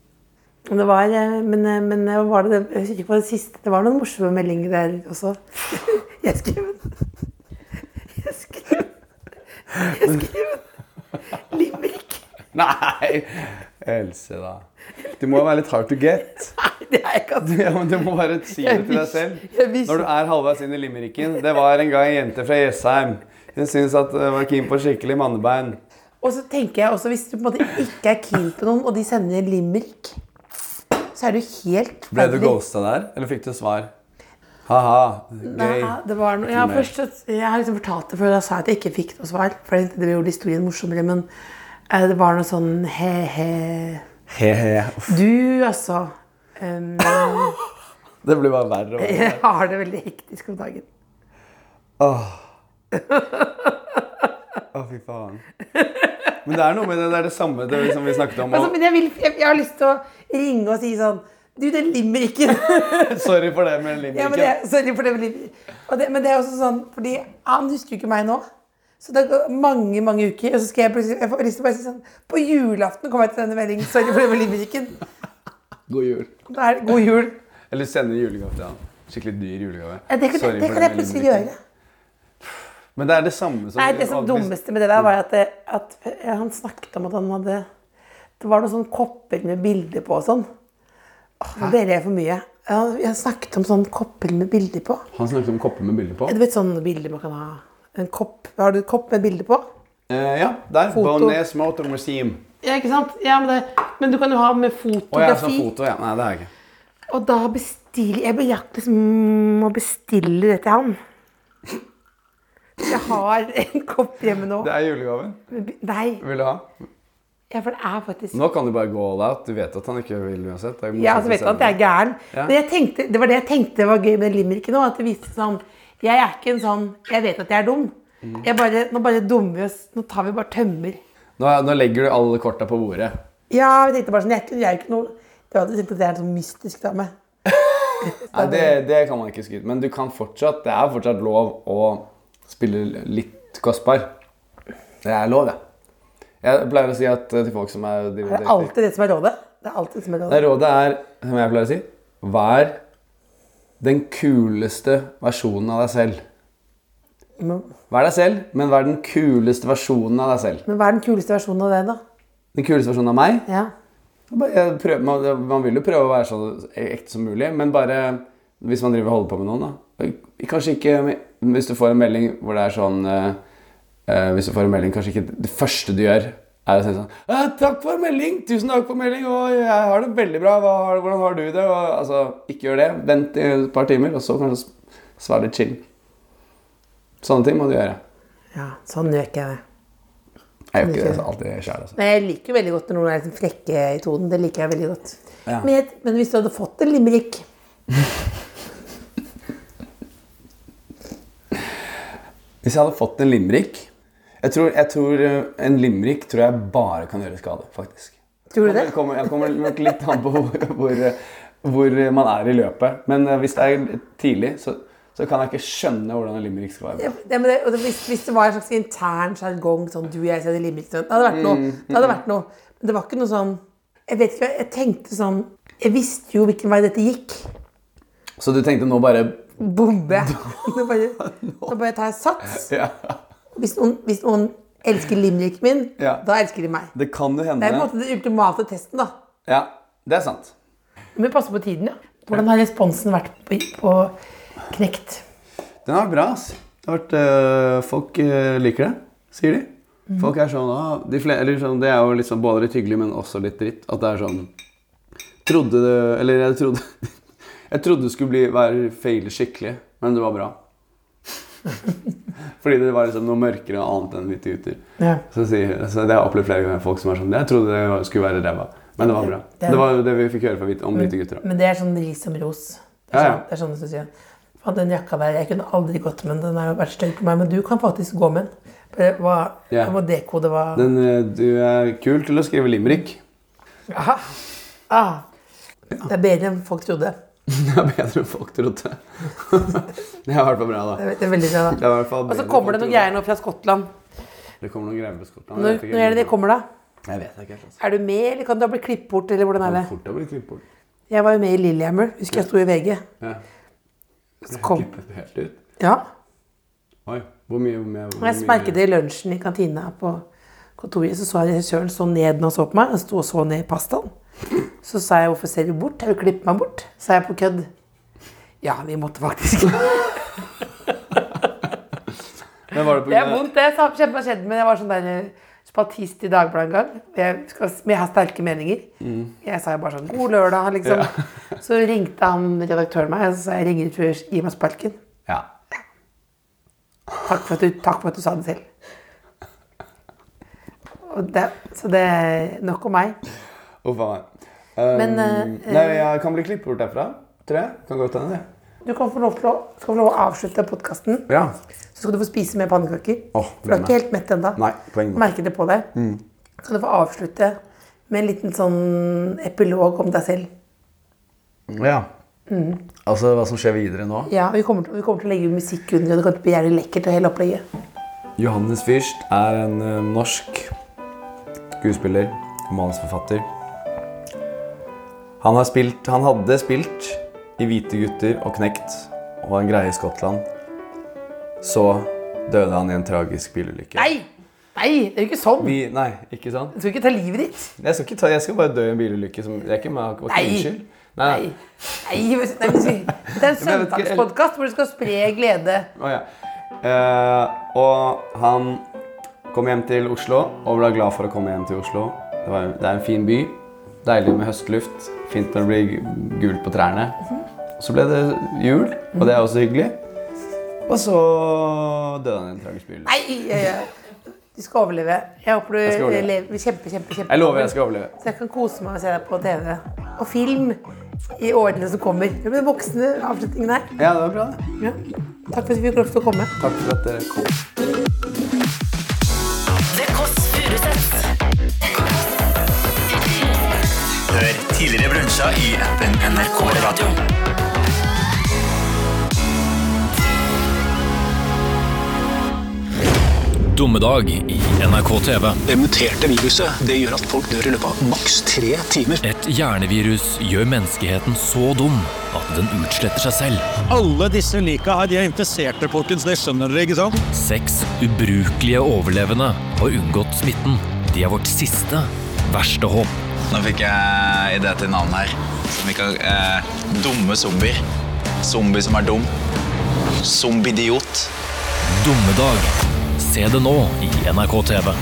[SPEAKER 3] det var, eh, men, eh, men eh, hva var det, jeg husker ikke på det siste. Det var noen morsomme meldinger der også. Jeg skrev Jeg skrev Jeg skrev Limerick.
[SPEAKER 4] Nei! Else, da. Du må jo være litt hard to get.
[SPEAKER 3] Nei, det er ikke altså.
[SPEAKER 4] Ja, men Du må bare si det til deg selv.
[SPEAKER 3] Jeg visste-
[SPEAKER 4] Når du er halvveis inn i limericken. Det var en gang ei jente fra Jessheim. Hun syntes at jeg var keen på skikkelig mannebein.
[SPEAKER 3] Og så tenker jeg også, hvis du på en måte ikke er keen på noen, og de sender limerick, så er du helt
[SPEAKER 4] Ble du
[SPEAKER 3] ferdig.
[SPEAKER 4] ghosta der, eller fikk du svar? Ha-ha,
[SPEAKER 3] Nei,
[SPEAKER 4] gøy.
[SPEAKER 3] det var noe. Ja,
[SPEAKER 4] Mer.
[SPEAKER 3] først, så- jeg har liksom fortalt det før, da sa jeg at jeg ikke fikk noe svar. For det det gjorde historien morsommere, men eh, det var noe sånn he-he
[SPEAKER 4] He-he. Uff,
[SPEAKER 3] Du, altså. Um,
[SPEAKER 4] Det blir bare verre og verre.
[SPEAKER 3] jeg har det veldig hektisk om dagen.
[SPEAKER 4] Å, fy faen. Men det er noe med det, det er det samme det som vi snakket om.
[SPEAKER 3] Altså,
[SPEAKER 4] Og,
[SPEAKER 3] men jeg, vil, jeg, jeg har lyst til å ringe og si sånn Du, den limericken!
[SPEAKER 4] sorry for det
[SPEAKER 3] Ja, men
[SPEAKER 4] med limericken.
[SPEAKER 3] det, sorry for det. Men og det, men det er også sånn, fordi han husker jo ikke meg nå. Så det går mange mange uker, og så skal jeg plutselig jeg får lyst til å bare si sånn På julaften kommer jeg til denne meldingen. Sorry for det med limericken.
[SPEAKER 4] God jul.
[SPEAKER 3] Da er det god jul.
[SPEAKER 4] Eller sende julegave til han. Skikkelig dyr julegave.
[SPEAKER 3] Ja, det, kan,
[SPEAKER 4] Sorry
[SPEAKER 3] det
[SPEAKER 4] for
[SPEAKER 3] kan jeg
[SPEAKER 4] med
[SPEAKER 3] plutselig
[SPEAKER 4] limericken.
[SPEAKER 3] gjøre.
[SPEAKER 4] Men det er det samme som
[SPEAKER 3] Nei, det som dummeste med det der, var at, det, at han snakket om at han hadde Det var noen sånne kopper med bilder på og sånn. Åh, Nå deler jeg for mye. Ja, Jeg snakket om sånne kopper med bilder på.
[SPEAKER 4] Han snakket om kopper med bilder på.
[SPEAKER 3] Du vet sånne bilder man kan ha? En kopp. Har du en kopp med bilder på?
[SPEAKER 4] Eh, ja, der.
[SPEAKER 3] Foto.
[SPEAKER 4] Bones Motor Museum.
[SPEAKER 3] Ja, ikke sant? Ja, men, det, men du kan jo ha med
[SPEAKER 4] Å, jeg sa
[SPEAKER 3] fotografi.
[SPEAKER 4] foto, ja. Nei, det har jeg ikke.
[SPEAKER 3] og da bestiller jeg bejakk liksom å bestille det til han. Jeg har en kopp hjemme nå.
[SPEAKER 4] Det er julegaven.
[SPEAKER 3] Nei,
[SPEAKER 4] Vil du ha?
[SPEAKER 3] ja, for det er faktisk
[SPEAKER 4] Nå kan du bare gå all out. Du vet at han ikke vil uansett. Det er
[SPEAKER 3] Ja, altså vet du at jeg er gæren.
[SPEAKER 4] Ja.
[SPEAKER 3] Men jeg tenkte, det var det jeg tenkte var gøy med limericken òg. At det viste sånn Jeg er ikke en sånn Jeg vet at jeg er dum. Jeg bare, nå bare dummer vi oss. Nå tar vi bare tømmer.
[SPEAKER 4] nå, nå legger du alle korta på bordet.
[SPEAKER 3] Ja, jeg tenkte bare sånn Jeg, jeg er ikke noe Det var at du tenkte at jeg er en sånn mystisk dame.
[SPEAKER 4] Nei, det, det kan man ikke skryte Men du kan fortsatt, det er fortsatt lov å spille litt kostbar. Det er lov, det. Jeg pleier å si at eh, til folk som er
[SPEAKER 3] Det er alltid det som er rådet. Det er alltid det som er rådet.
[SPEAKER 4] Nei, rådet er, som jeg pleier å si, vær den kuleste versjonen av deg selv.
[SPEAKER 3] Men,
[SPEAKER 4] Vær deg selv, men vær den kuleste versjonen av deg selv.
[SPEAKER 3] men hva er den kuleste versjonen av det, da?
[SPEAKER 4] Den kuleste versjonen av meg?
[SPEAKER 3] Ja.
[SPEAKER 4] Bare- jeg prøver- man, man vil jo prøve å være så ekte som mulig, men bare hvis man driver og holder på med noen, da. Kanskje ikke med- hvis du får en melding hvor det er sånn eh, eh, Hvis du får en melding, kanskje ikke det første du gjør, er å si sånn «Eh, 'Takk for melding! Tusen takk for melding! Og jeg har det veldig bra! Hva, har- hvordan har du det?' Og, altså, ikke gjør det. Vent i et par timer, og så kanskje s- svare litt chill. Sånne ting må du gjøre.
[SPEAKER 3] ja sånn gjør ikke jeg det.
[SPEAKER 4] Jeg gjør ikke det så alltid sjæl, altså.
[SPEAKER 3] Men jeg liker jo veldig godt når noen er liksom frekke i tonen. Det liker jeg veldig godt.
[SPEAKER 4] Ja.
[SPEAKER 3] Men, jeg, men hvis du hadde fått en limerick
[SPEAKER 4] Hvis jeg hadde fått en limerick jeg tror, jeg tror eh, En limerick tror jeg bare kan gjøre skade, faktisk.
[SPEAKER 3] Tror du det?
[SPEAKER 4] Jeg kommer, jeg kommer nok litt an på hvor, hvor, eh, hvor eh, man er i løpet. Men eh, hvis det er tidlig, så, så kan jeg ikke skjønne hvordan en limerick skal være.
[SPEAKER 3] Ja, men det, og det, hvis, hvis det var en slags intern sjargong, sånn du og jeg sier limerick sånn, Det hadde vært noe. Det hadde vært noe. Men det var ikke noe sånn Jeg vet ikke, jeg tenkte sånn Jeg visste jo hvilken vei dette gikk.
[SPEAKER 4] Så du tenkte nå bare
[SPEAKER 3] Bombe. Nå bare, nå bare tar jeg sats.
[SPEAKER 4] ja.
[SPEAKER 3] Hvis noen, hvis noen elsker limericken min,
[SPEAKER 4] Ja.
[SPEAKER 3] da elsker de meg.
[SPEAKER 4] Det kan jo
[SPEAKER 3] Det er på en
[SPEAKER 4] hende.
[SPEAKER 3] måte den ultimate testen, da.
[SPEAKER 4] Ja, det er sant.
[SPEAKER 3] Men passe på tiden, ja. Hvordan har responsen vært på, på Knekt?
[SPEAKER 4] Den har vært bra, ass. Det har vært, øh, folk øh, liker det, sier de. Folk er sånn, ah, de fle- eller sånn Det er jo liksom både litt hyggelig, men også litt dritt. At det er sånn Trodde det Eller jeg trodde Jeg trodde det skulle bli, være feile skikkelig, men det var bra. Fordi det var liksom noe mørkere og annet enn Hvite gutter.
[SPEAKER 3] Ja.
[SPEAKER 4] Så sier, så det har jeg opplevd flere ganger folk som er sånn Jeg trodde det var- skulle være ræva, men det var bra.
[SPEAKER 3] Det er-
[SPEAKER 4] Det var jo det vi fikk høre fra hvite, om Hvite gutter. da.
[SPEAKER 3] Men det er sånn ris som ros. Det er
[SPEAKER 4] Ja, ja.
[SPEAKER 3] sånn, det er sånn som sier Faen, den jakka der, jeg kunne aldri gått med den. Den har jo vært stygg på meg, men du kan faktisk gå med den. Bare hva,
[SPEAKER 4] Ja.
[SPEAKER 3] Jeg må dekode hva
[SPEAKER 4] Den, øh, du er kul til å skrive limerick.
[SPEAKER 3] ah, Det er bedre enn folk trodde.
[SPEAKER 4] Det er bedre enn folk trodde. Det er i hvert fall bra, da.
[SPEAKER 3] Det er veldig bra,
[SPEAKER 4] Det
[SPEAKER 3] da.
[SPEAKER 4] er i hvert fall
[SPEAKER 3] Og så
[SPEAKER 4] bedre enn
[SPEAKER 3] kommer det noen
[SPEAKER 4] folk trodde.
[SPEAKER 3] greier nå fra Skottland.
[SPEAKER 4] Det kommer noen greier fra Skottland.
[SPEAKER 3] Når,
[SPEAKER 4] Jeg vet ikke
[SPEAKER 3] når er det det
[SPEAKER 4] hvor-
[SPEAKER 3] kommer, da?
[SPEAKER 4] Jeg vet ikke helt. altså.
[SPEAKER 3] Er du med, eller kan du ha blitt klippet bort, eller hvordan er det?
[SPEAKER 4] Hvor Fort det blir klippet bort.
[SPEAKER 3] Jeg var jo med i Lillehammer, husker jeg sto i VG.
[SPEAKER 4] Ja.
[SPEAKER 3] Så kom.
[SPEAKER 4] Klippet helt ut.
[SPEAKER 3] Ja.
[SPEAKER 4] Oi, hvor mye hvor mye- hvor
[SPEAKER 3] Og jeg
[SPEAKER 4] mye-
[SPEAKER 3] merket det i lunsjen i kantina på kontoret, så så jeg regissøren så ned når han så på meg, han sto og så ned i pastaen. Så sa jeg, hvorfor ser du bort? Har du klippet meg bort? Sa jeg på kødd. Ja, vi måtte faktisk.
[SPEAKER 4] Men var det på
[SPEAKER 3] Det er
[SPEAKER 4] grunn av-
[SPEAKER 3] vondt, det. sa- Kjempe har skjedd, men jeg var sånn der eh, spaltist i Dagbladet en gang. Jeg, skal, men jeg har sterke meninger. Jeg sa jo bare sånn 'god lørdag', liksom. Så ringte han redaktøren meg og så sa jeg 'ringer ut før gi meg sparken'.
[SPEAKER 4] Ja.
[SPEAKER 3] Takk for at du, takk for at du sa det selv. Og det, så det er nok om meg.
[SPEAKER 4] Uff a meg. Um,
[SPEAKER 3] Men, eh,
[SPEAKER 4] Nei, jeg kan bli klippet bort derfra. Tror jeg. Kan godt hende, det.
[SPEAKER 3] Du kan få lov til å, skal få lov å avslutte podkasten.
[SPEAKER 4] Ja.
[SPEAKER 3] Så skal du få spise mer pannekaker.
[SPEAKER 4] Åh,
[SPEAKER 3] for du er
[SPEAKER 4] gleder meg.
[SPEAKER 3] ikke helt mett ennå.
[SPEAKER 4] Nei, poeng.
[SPEAKER 3] Merker det på deg.
[SPEAKER 4] Mm.
[SPEAKER 3] Så kan du få avslutte med en liten sånn epilog om deg selv.
[SPEAKER 4] Ja.
[SPEAKER 3] Mm.
[SPEAKER 4] Altså hva som skjer videre nå?
[SPEAKER 3] Ja, vi kommer, til, vi kommer til å legge musikk under, og det kommer til å bli jævlig lekkert. og hele opplegget.
[SPEAKER 4] Johannes Fyrst er en eh, norsk skuespiller og manusforfatter. Han, har spilt, han hadde spilt i Hvite gutter og Knekt og en greie i Skottland. Så døde han i en tragisk bilulykke.
[SPEAKER 3] Nei! Nei, det er jo ikke sånn!
[SPEAKER 4] Vi, nei, ikke sant?
[SPEAKER 3] Du skal ikke ta livet ditt.
[SPEAKER 4] Jeg skal, ikke ta, jeg skal bare dø i en bilulykke. Som, jeg er ikke, jeg var ikke
[SPEAKER 3] Nei.
[SPEAKER 4] min skyld. Nei.
[SPEAKER 3] Nei. Nei, men- nei, men vi- Det er en
[SPEAKER 4] Men jeg vet ikke, eller-
[SPEAKER 3] søndagspodkast hvor du skal spre glede.
[SPEAKER 4] Å, ja. Eh, og han kom hjem til Oslo og ble glad for å komme hjem til Oslo. Det, var, det er en fin by. Deilig med høstluft. Fint når det blir gu- gult på trærne. Så ble det jul, og det er også hyggelig. Og så døde han i en tragisk bilulykke.
[SPEAKER 3] Nei! ja, ja. Du skal overleve. Jeg håper du
[SPEAKER 4] Jeg skal overleve.
[SPEAKER 3] lever kjempe, kjempe, kjempe.
[SPEAKER 4] Jeg lover jeg skal overleve.
[SPEAKER 3] Så jeg kan kose meg og se deg på TV. Og film i årene som kommer. Det blir den voksne avslutningen her.
[SPEAKER 4] Ja, det var bra, det.
[SPEAKER 3] Ja. Takk for at vi fikk lov til å komme.
[SPEAKER 4] Takk for at dere kom.
[SPEAKER 2] Det Kåss Furuseths.
[SPEAKER 5] Hør tidligere brunsja i appen NRK Radio.
[SPEAKER 6] Dommedag i NRK TV.
[SPEAKER 7] Det muterte viruset det gjør at folk dør i løpet av maks tre timer.
[SPEAKER 6] Et hjernevirus gjør menneskeheten så dum at den utsletter seg selv.
[SPEAKER 8] Alle disse lika her, de er infiserte, folkens. Det skjønner dere, ikke sant?
[SPEAKER 6] Seks ubrukelige overlevende har unngått smitten. De er vårt siste verste håp.
[SPEAKER 5] Nå fikk jeg idé til navn her. Som vi kan eh, Dumme zombier. Zombie som er dum. Zombidiot.
[SPEAKER 6] Dommedag. Se det nå i NRK TV.